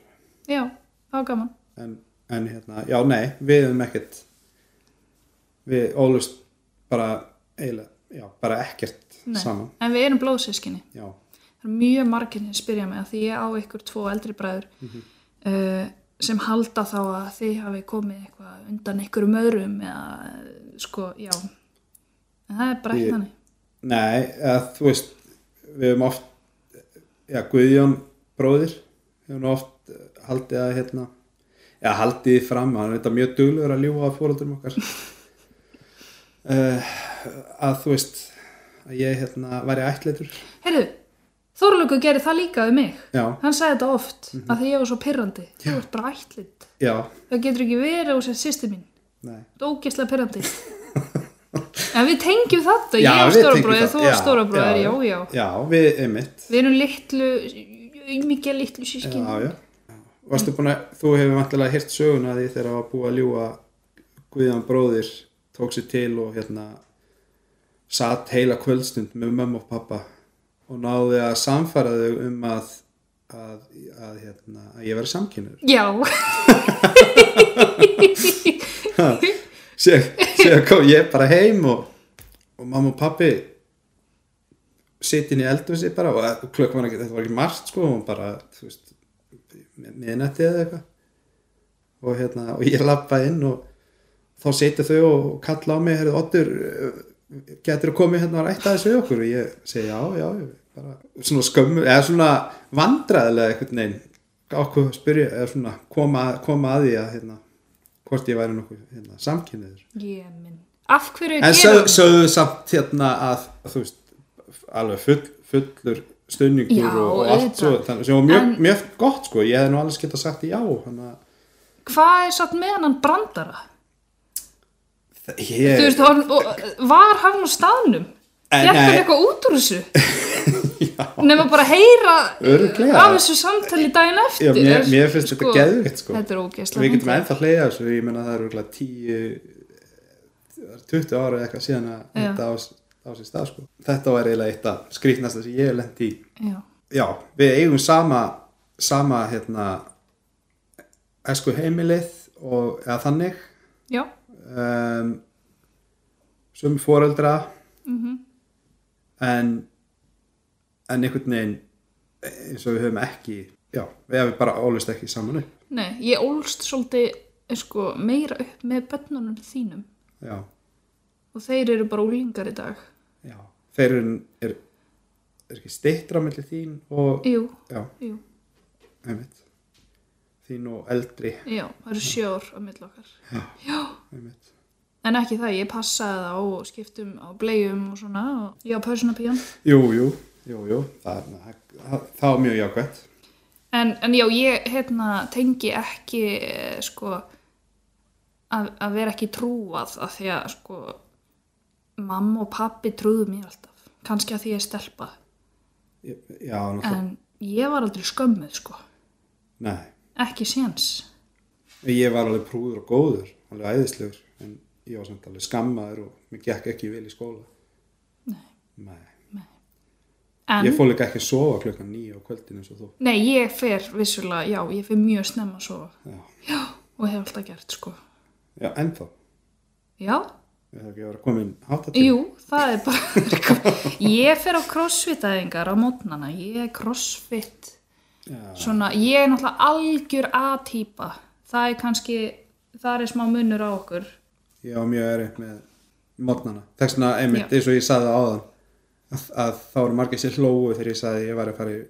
Speaker 1: Já, það var gaman.
Speaker 2: en, en hérna, já nei, við höfum ekkert við ólust bara eiginlega, já, bara ekkert
Speaker 1: Nei.
Speaker 2: saman,
Speaker 1: En við erum blóðsískinni.
Speaker 2: já,
Speaker 1: Það er mjög margir sem spyrja mig að því ég á ykkur tvo eldri bræður
Speaker 2: Mhm.
Speaker 1: uh, sem halda þá að þið hafi komið eitthvað undan ykkurum öðrum eða sko, já. En það er bara ekki
Speaker 2: Ég-
Speaker 1: þannig.
Speaker 2: nei eða, þú veist, við höfum oft já, Guðjón bróðir við höfum oft eh, haldið að hérna, já, haldið því fram hann er þetta mjög duglegur að ljúga að fóröldurum okkar uh, að þú veist að ég hérna væri ættleitur
Speaker 1: Heyrðu, Þorlöku gerir það líka við mig.
Speaker 2: já,
Speaker 1: Hann sagði þetta oft mm
Speaker 2: Mhm.
Speaker 1: að því ég var svo pirrandi. Þú ert bara ætlind.
Speaker 2: já,
Speaker 1: Það getur ekki verið og sér sýsti mín.
Speaker 2: nei
Speaker 1: Þetta er ógeðslega pirrandi.
Speaker 2: <laughs>
Speaker 1: en við tengjum þetta. Ég
Speaker 2: Já,
Speaker 1: á
Speaker 2: við tengjum
Speaker 1: stórabróðir,
Speaker 2: það.
Speaker 1: þú á
Speaker 2: Já,
Speaker 1: stórabróðir, já, já.
Speaker 2: Já, við einmitt
Speaker 1: Við erum litlu, mikið litlu sískin.
Speaker 2: Já, já Varstu búin að, þú hefur vantilega hirt söguna af því þegar það var búið að ljúga Guðjón bróðir tók sér til og hérna satt heila kvöldstund með mömmu og pappa og náði að samfæra þau um að að, að, hérna, að ég veri samkynur
Speaker 1: Já.
Speaker 2: síðan kom ég bara heim og, og mamma og pappi sitin í eldhúsi bara og klukk var ekki, þetta var ekki margt sko og bara, þú veist mi- miðnætti eða eitthvað og hérna, og ég lappa inn og þá setja þau og kalla á mig herrðu, Oddur, getur þú komið hérna og rætta þessu við okkur og ég segi já, já, ég bara svona skömmu, eða svona vandræðilega einhvern veginn ákveð að spyrja, eða svona koma, koma að því að hérna, hvort ég væri nokkuð hérna, samkynniður
Speaker 1: Ég minn. Af hverju
Speaker 2: En
Speaker 1: gerum
Speaker 2: sög, sögðu samt hérna að þú veist, alveg full, fullur stunningur
Speaker 1: Já,
Speaker 2: og, og allt
Speaker 1: auðvitað.
Speaker 2: svo, þannig sem var mjög,
Speaker 1: En-
Speaker 2: mjög gott sko, ég hefði nú alveg geta sagt já þannig að
Speaker 1: Hvað er satt með hann brandara?
Speaker 2: Þa-
Speaker 1: Þú
Speaker 2: ég,
Speaker 1: veist, hann, og, var hann á staðnum?
Speaker 2: En-
Speaker 1: Fekk hann
Speaker 2: nei.
Speaker 1: eitthvað út úr
Speaker 2: <laughs>
Speaker 1: þessu? Nefn að bara heyra
Speaker 2: Örugglega.
Speaker 1: af þessu samtali daginn eftir.
Speaker 2: já, mér, mér finnst þetta geðvikt sko,
Speaker 1: Þetta er ógeðslega.
Speaker 2: við getum
Speaker 1: fyndið.
Speaker 2: ennþá hleyja þessu, ég menna það eru örugglega 10 20 ára eða eitthvað síðan að
Speaker 1: Já.
Speaker 2: þetta á, á sér stað sko, þetta var eiginlega eitt af skrýtnasta sem ég hef lent í
Speaker 1: Já.
Speaker 2: já, við eigum sama sama hérna esku heimilið og eða þannig
Speaker 1: Já.
Speaker 2: um, sömu foreldra
Speaker 1: Mhm.
Speaker 2: en en einhvern veginn eins og við höfum ekki já, við hefum bara ólist ekki saman upp
Speaker 1: Nei, ég ólst svolítið sko, meira upp með bönnunum þínum
Speaker 2: já,
Speaker 1: og þeir eru bara úlingar í dag.
Speaker 2: já, þeir eru er, er ekki stittra mellir þín og,
Speaker 1: Jú,
Speaker 2: já,
Speaker 1: jú.
Speaker 2: einmitt þín og eldri,
Speaker 1: Já, það eru sjö ár á milli okkar.
Speaker 2: einmitt
Speaker 1: En ekki það, ég passaði það og skiptum á bleium og svona og ég á pörsuna píjan.
Speaker 2: Jú, jú, jú, jú, það, það, það, það var mjög jákvæmt.
Speaker 1: En, en já, ég hérna, tengi ekki eh, sko, að, að vera ekki trúað af því að sko, mamma og pappi trúðu mér alltaf. Kannski að því ég er stelpa.
Speaker 2: Já, náttúrulega,
Speaker 1: En ég var aldrei skömmuð, sko.
Speaker 2: nei.
Speaker 1: Ekki séns.
Speaker 2: Ég var alveg prúður og góður, alveg æðislegur, en ég var samt alveg skammaður og mér gekk ekki vel í skóla.
Speaker 1: Nei.
Speaker 2: Nei.
Speaker 1: En,
Speaker 2: Ég fór líka ekki að sofa klukkan nýja á kvöldinu eins og þú.
Speaker 1: nei, ég fer vissulega, já, ég fer mjög snemma svo.
Speaker 2: Já,
Speaker 1: Já, og hef alltaf gert, sko.
Speaker 2: já ennþá.
Speaker 1: Já,
Speaker 2: Ég þarf ekki að vera komin hátta til.
Speaker 1: jú, það er bara, ég fer á crossfit-æðingar á mótnana, ég er crossfit
Speaker 2: Já,
Speaker 1: svona, ég er náttúrulega algjör A-týpa það er kannski, það er smá munur á okkur
Speaker 2: ég var mjög erið með mótnana. Þess vegna einmitt,
Speaker 1: Já.
Speaker 2: eins og ég saði það áðan, að, að þá eru margir sér hlóu þegar ég saði að ég var að fara í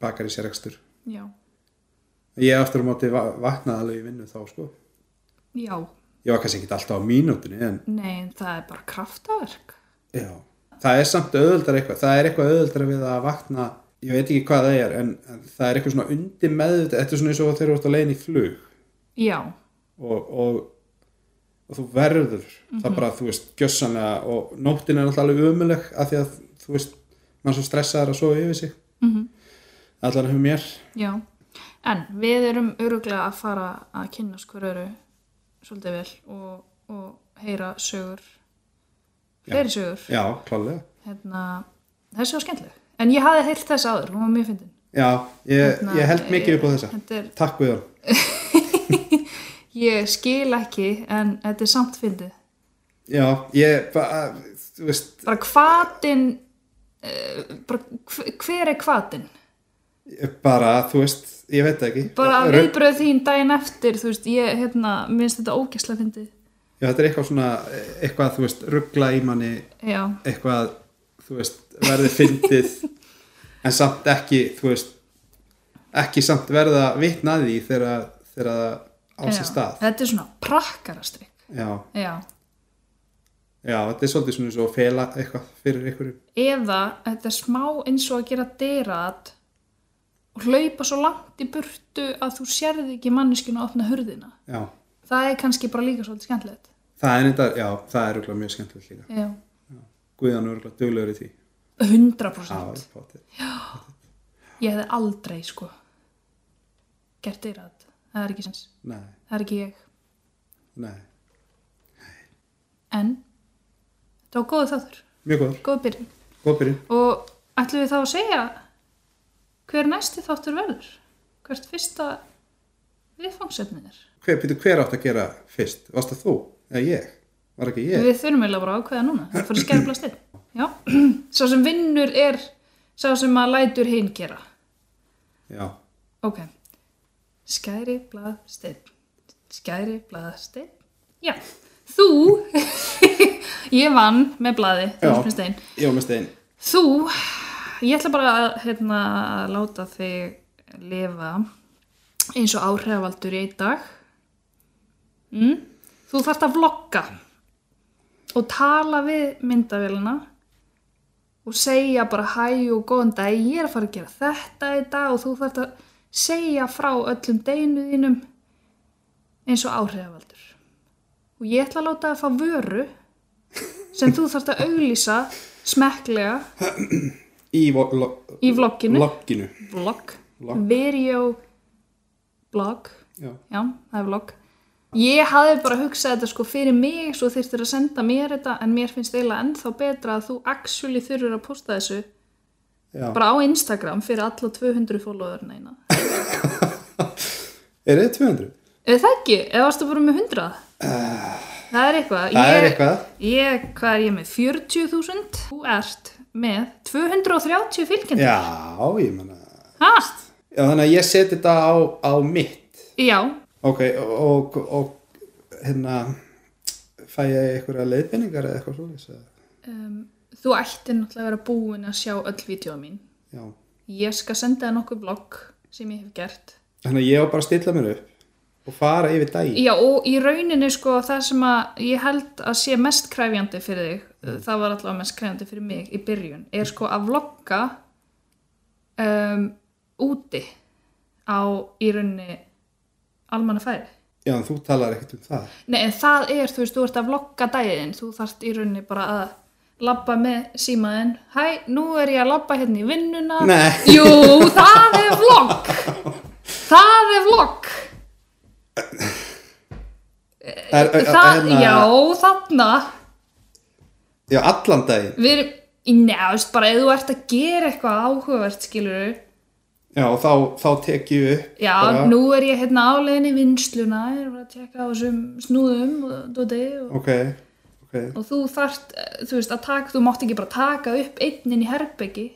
Speaker 2: bakar í sérrekstur.
Speaker 1: já,
Speaker 2: Ég aftur á móti va- vaknaði alveg í vinnu þá, sko.
Speaker 1: já,
Speaker 2: Ég var kannski ekki alltaf á mínútunni, en
Speaker 1: nei en það er bara kraftaverk
Speaker 2: Já, það er samt auðvöldar eitthvað, það er eitthvað auðvöldar við að vakna, ég veit ekki hvað það er, en, en það er eitthvað svona undir meðut, þetta er svona eins og þegar þú ert að leiðin í flug
Speaker 1: já,
Speaker 2: og, og, og þú verður,
Speaker 1: Mhm.
Speaker 2: það bara, þú veist, gjössanlega og nóttin er alltaf alveg umuleg af því að, þú veist, mann svo stressaður að sofa yfir sig,
Speaker 1: mm
Speaker 2: allar hefur mér,
Speaker 1: já en við erum öruglega að fara að kynna skur öru svolítið vel og, og heyra sögur fleiri sögur
Speaker 2: já, klálega,
Speaker 1: hérna, þessi var skemmtileg en ég hafði heilt þess áður, hún var mjög fyndin
Speaker 2: já, ég,
Speaker 1: Hérna,
Speaker 2: ég held mikið upp á þessa,
Speaker 1: þetta er,
Speaker 2: takk við hann,
Speaker 1: ég skil ekki en þetta er samt fyndið
Speaker 2: já, ég, bara, þú veist,
Speaker 1: bara hvatin uh, bara, hv- hver er hvatin
Speaker 2: bara, þú veist, ég veit það ekki,
Speaker 1: bara
Speaker 2: Rödd-
Speaker 1: viðbröð þín daginn eftir þú veist, ég, hérna, minnst þetta ógæsla fyndið,
Speaker 2: Já, þetta er eitthvað svona, eitthvað, þú veist, ruggla í manni,
Speaker 1: já,
Speaker 2: eitthvað, þú veist, verði
Speaker 1: <laughs>
Speaker 2: fyndið, en samt ekki, þú veist, ekki samt verða vitnaði því þegar þegar það á
Speaker 1: já.
Speaker 2: sér stað.
Speaker 1: þetta er svona prakkarastrykk,
Speaker 2: Já,
Speaker 1: já
Speaker 2: já, þetta er svolítið svona svo að fela eitthvað fyrir ykkur.
Speaker 1: eða þetta er smá eins og að gera dyrat og hlaupa svo langt í burtu að þú sérði ekki manneskinu að opna hurðina
Speaker 2: Já,
Speaker 1: það er kannski bara líka svolítið skemmtilegt
Speaker 2: það er þetta, já, það er ruggla mjög skemmtilegt líka.
Speaker 1: já,
Speaker 2: Guðan er ruggla duglegur í því.
Speaker 1: 100%
Speaker 2: Já, pottþétt.
Speaker 1: ég hefði aldrei sko gert dyrat, það er ekki sens
Speaker 2: nei,
Speaker 1: það er ekki ég
Speaker 2: nei,
Speaker 1: En þetta var góðu þáttur,
Speaker 2: mjög góður,
Speaker 1: góðu byrjun.
Speaker 2: góð byrjun.
Speaker 1: Og ætlum við þá að segja hver næsti þáttur verður? Hvert fyrsta viðfangsefnið er?
Speaker 2: Hver, Pítur, hver átt að gera fyrst? Varst það þú? Eða ég? Var ekki ég?
Speaker 1: Við þurfum eiginlega bara að ákveða núna, það fyrir að skerflast inn. Já, <clears throat> sá sem vinnur er sá sem að lætur hinn gera.
Speaker 2: Já,
Speaker 1: Ok, skæri blað steinn, skæri blað steinn. Já, þú, <laughs> ég vann með blaði, þú
Speaker 2: Já.
Speaker 1: erst með steinn.
Speaker 2: ég var með stein.
Speaker 1: Þú, ég ætla bara að hérna, að láta þig lifa eins og áhrifaldur í einn dag. Mm? Þú þarft að vlogga og tala við myndavélina og segja bara hæ og góðan dag, ég er að fara að gera þetta í dag og þú þarft að segja frá öllum deginu þínum eins og áhrifaldur. Og ég ætla að láta að fá vöru sem þú þarft að auglýsa smekklega
Speaker 2: í, vo- lo-
Speaker 1: í vlogginu
Speaker 2: logginu
Speaker 1: vlogg,
Speaker 2: Vlogg.
Speaker 1: video blogg,
Speaker 2: já.
Speaker 1: já, það er vlogg ég hafði bara hugsað þetta sko fyrir mig svo þyrftir að senda mér þetta en mér finnst eiginlega ennþá betra að þú actually þurfur að posta þessu
Speaker 2: Já.
Speaker 1: bara á Instagram fyrir alla 200 followerna eina
Speaker 2: er þið 200?
Speaker 1: eða það ekki, eða varstu bara með 100 það er eitthvað
Speaker 2: Uh, það
Speaker 1: Ég-
Speaker 2: er eitthvað
Speaker 1: ég, hvað er ég með, 40.000 þú ert með 230 fylgjandi
Speaker 2: já, ég menna
Speaker 1: ha,
Speaker 2: já, þannig að ég seti þetta á, á mitt
Speaker 1: já,
Speaker 2: ok, og, og, og hérna fæ ég einhverja leiðbeiningar eða eitthvað svoleiðis eða?
Speaker 1: um, þú ættir náttúrulega að vera búin að sjá öll vídeo mín.
Speaker 2: já,
Speaker 1: Ég skal senda þér nokkuð blogg sem ég hef gert.
Speaker 2: þannig að ég á bara að stilla mér upp og fara yfir daginn
Speaker 1: Já, og í rauninni sko það sem að ég held að sé mest kræfjandi fyrir þig, það var allavega mest kræfjandi fyrir mig í byrjun, er sko að vlogga um, úti á í rauninni almanna færi.
Speaker 2: Já, en þú talar ekkert um það
Speaker 1: Nei, en það er, þú veist, þú ert að vlogga dæðin, þú þarft í rauninni bara að labba með símaðinn, hæ, nú er ég að labba hérna í vinnuna.
Speaker 2: Nei.
Speaker 1: Jú, það er vlogg. Það er vlogg.
Speaker 2: er, er,
Speaker 1: <laughs> Það,
Speaker 2: hérna-
Speaker 1: já, þarna.
Speaker 2: Já, allan daginn
Speaker 1: Við erum, neða, veist, bara ef þú ert að gera eitthvað áhugavert, skilur
Speaker 2: Já, og þá, þá tek ég upp
Speaker 1: Já,
Speaker 2: bara,
Speaker 1: nú er ég hérna áleginni vinnsluna, ég er bara að tjekka á þessum snúðum og dóti og,
Speaker 2: Ok, ok
Speaker 1: og þú þarft, eh, þú veist, að taka, þú mátt ekki bara taka upp einninn í herbyggi.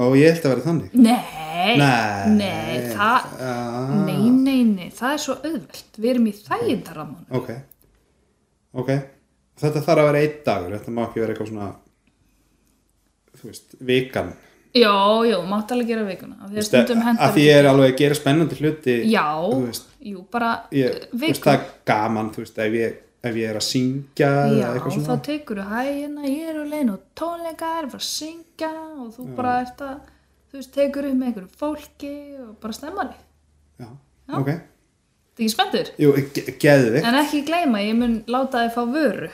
Speaker 2: Og ég held að vera þannig
Speaker 1: Nei,
Speaker 2: Nei. Ah.
Speaker 1: nei, það,
Speaker 2: Já,
Speaker 1: nei, nei, nei, það er svo auðvelt, við erum í þægindaramónu.
Speaker 2: ok Ok Þetta þarf að vera einn dagur, þetta má ekki vera eitthvað svona Þú veist, vikan
Speaker 1: Já, já, mátt alveg gera vikuna, af því að stundum hendar.
Speaker 2: Að því ég er alveg að gera spennandi hluti Þú
Speaker 1: Já,
Speaker 2: veist.
Speaker 1: jú, bara
Speaker 2: ég,
Speaker 1: eh,
Speaker 2: þú veist,
Speaker 1: vikuna.
Speaker 2: það er gaman þú veist, ef ég, ef ég er að syngja
Speaker 1: Já,
Speaker 2: eða eitthvað
Speaker 1: þá
Speaker 2: svona
Speaker 1: tekur þú hægina, ég er á leiðin og tónleika er bara að syngja og þú bara ert að, þú veist, tekur upp með einhverju fólki og bara stemmari.
Speaker 2: já, ok,
Speaker 1: Það er ekki spenntur?
Speaker 2: jú, ge- geðvik
Speaker 1: En ekki gleyma, ég mun láta þið fá vöru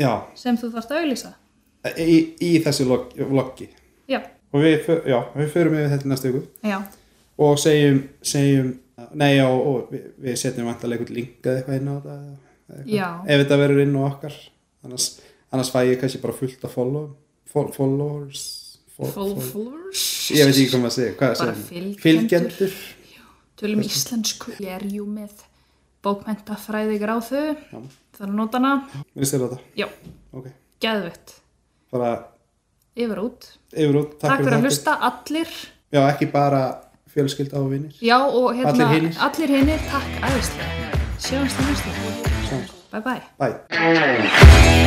Speaker 2: já,
Speaker 1: sem þú þarft að auðlýsa.
Speaker 2: í, í þessu log- vloggi
Speaker 1: Já,
Speaker 2: og við, för- já, við förum yfir þetta í næstu ykkur
Speaker 1: já,
Speaker 2: og segjum, segjum nei, já, og við, við setjum vantarlega einhvern link eða eitthvað inn á þetta eða eitthvað.
Speaker 1: Já.
Speaker 2: ef þetta verður inn á okkar annars, annars fæ ég kannski bara fullt af follow, fol, followers fol,
Speaker 1: full followers.
Speaker 2: ég veit ekki hvað maður segir, hvað
Speaker 1: Bara
Speaker 2: segir maður?
Speaker 1: fylgjendur.
Speaker 2: fylgjendur
Speaker 1: Tölum íslensku, ég er jú með bókmentafræði gráðu,
Speaker 2: Já.
Speaker 1: það er nótana,
Speaker 2: minnst þér þetta,
Speaker 1: já,
Speaker 2: ok
Speaker 1: geðvett,
Speaker 2: bara
Speaker 1: yfir og út.
Speaker 2: yfir út,
Speaker 1: Takk, fyrir að
Speaker 2: þáttinn.
Speaker 1: hlusta, allir,
Speaker 2: Já, ekki bara fjölskylda og vinnir.
Speaker 1: já og hérna,
Speaker 2: Allir hinir.
Speaker 1: allir hinir, takk, æðislega. Sjáumst í næstu.
Speaker 2: Sjáumst.
Speaker 1: Bye bye.
Speaker 2: Bye.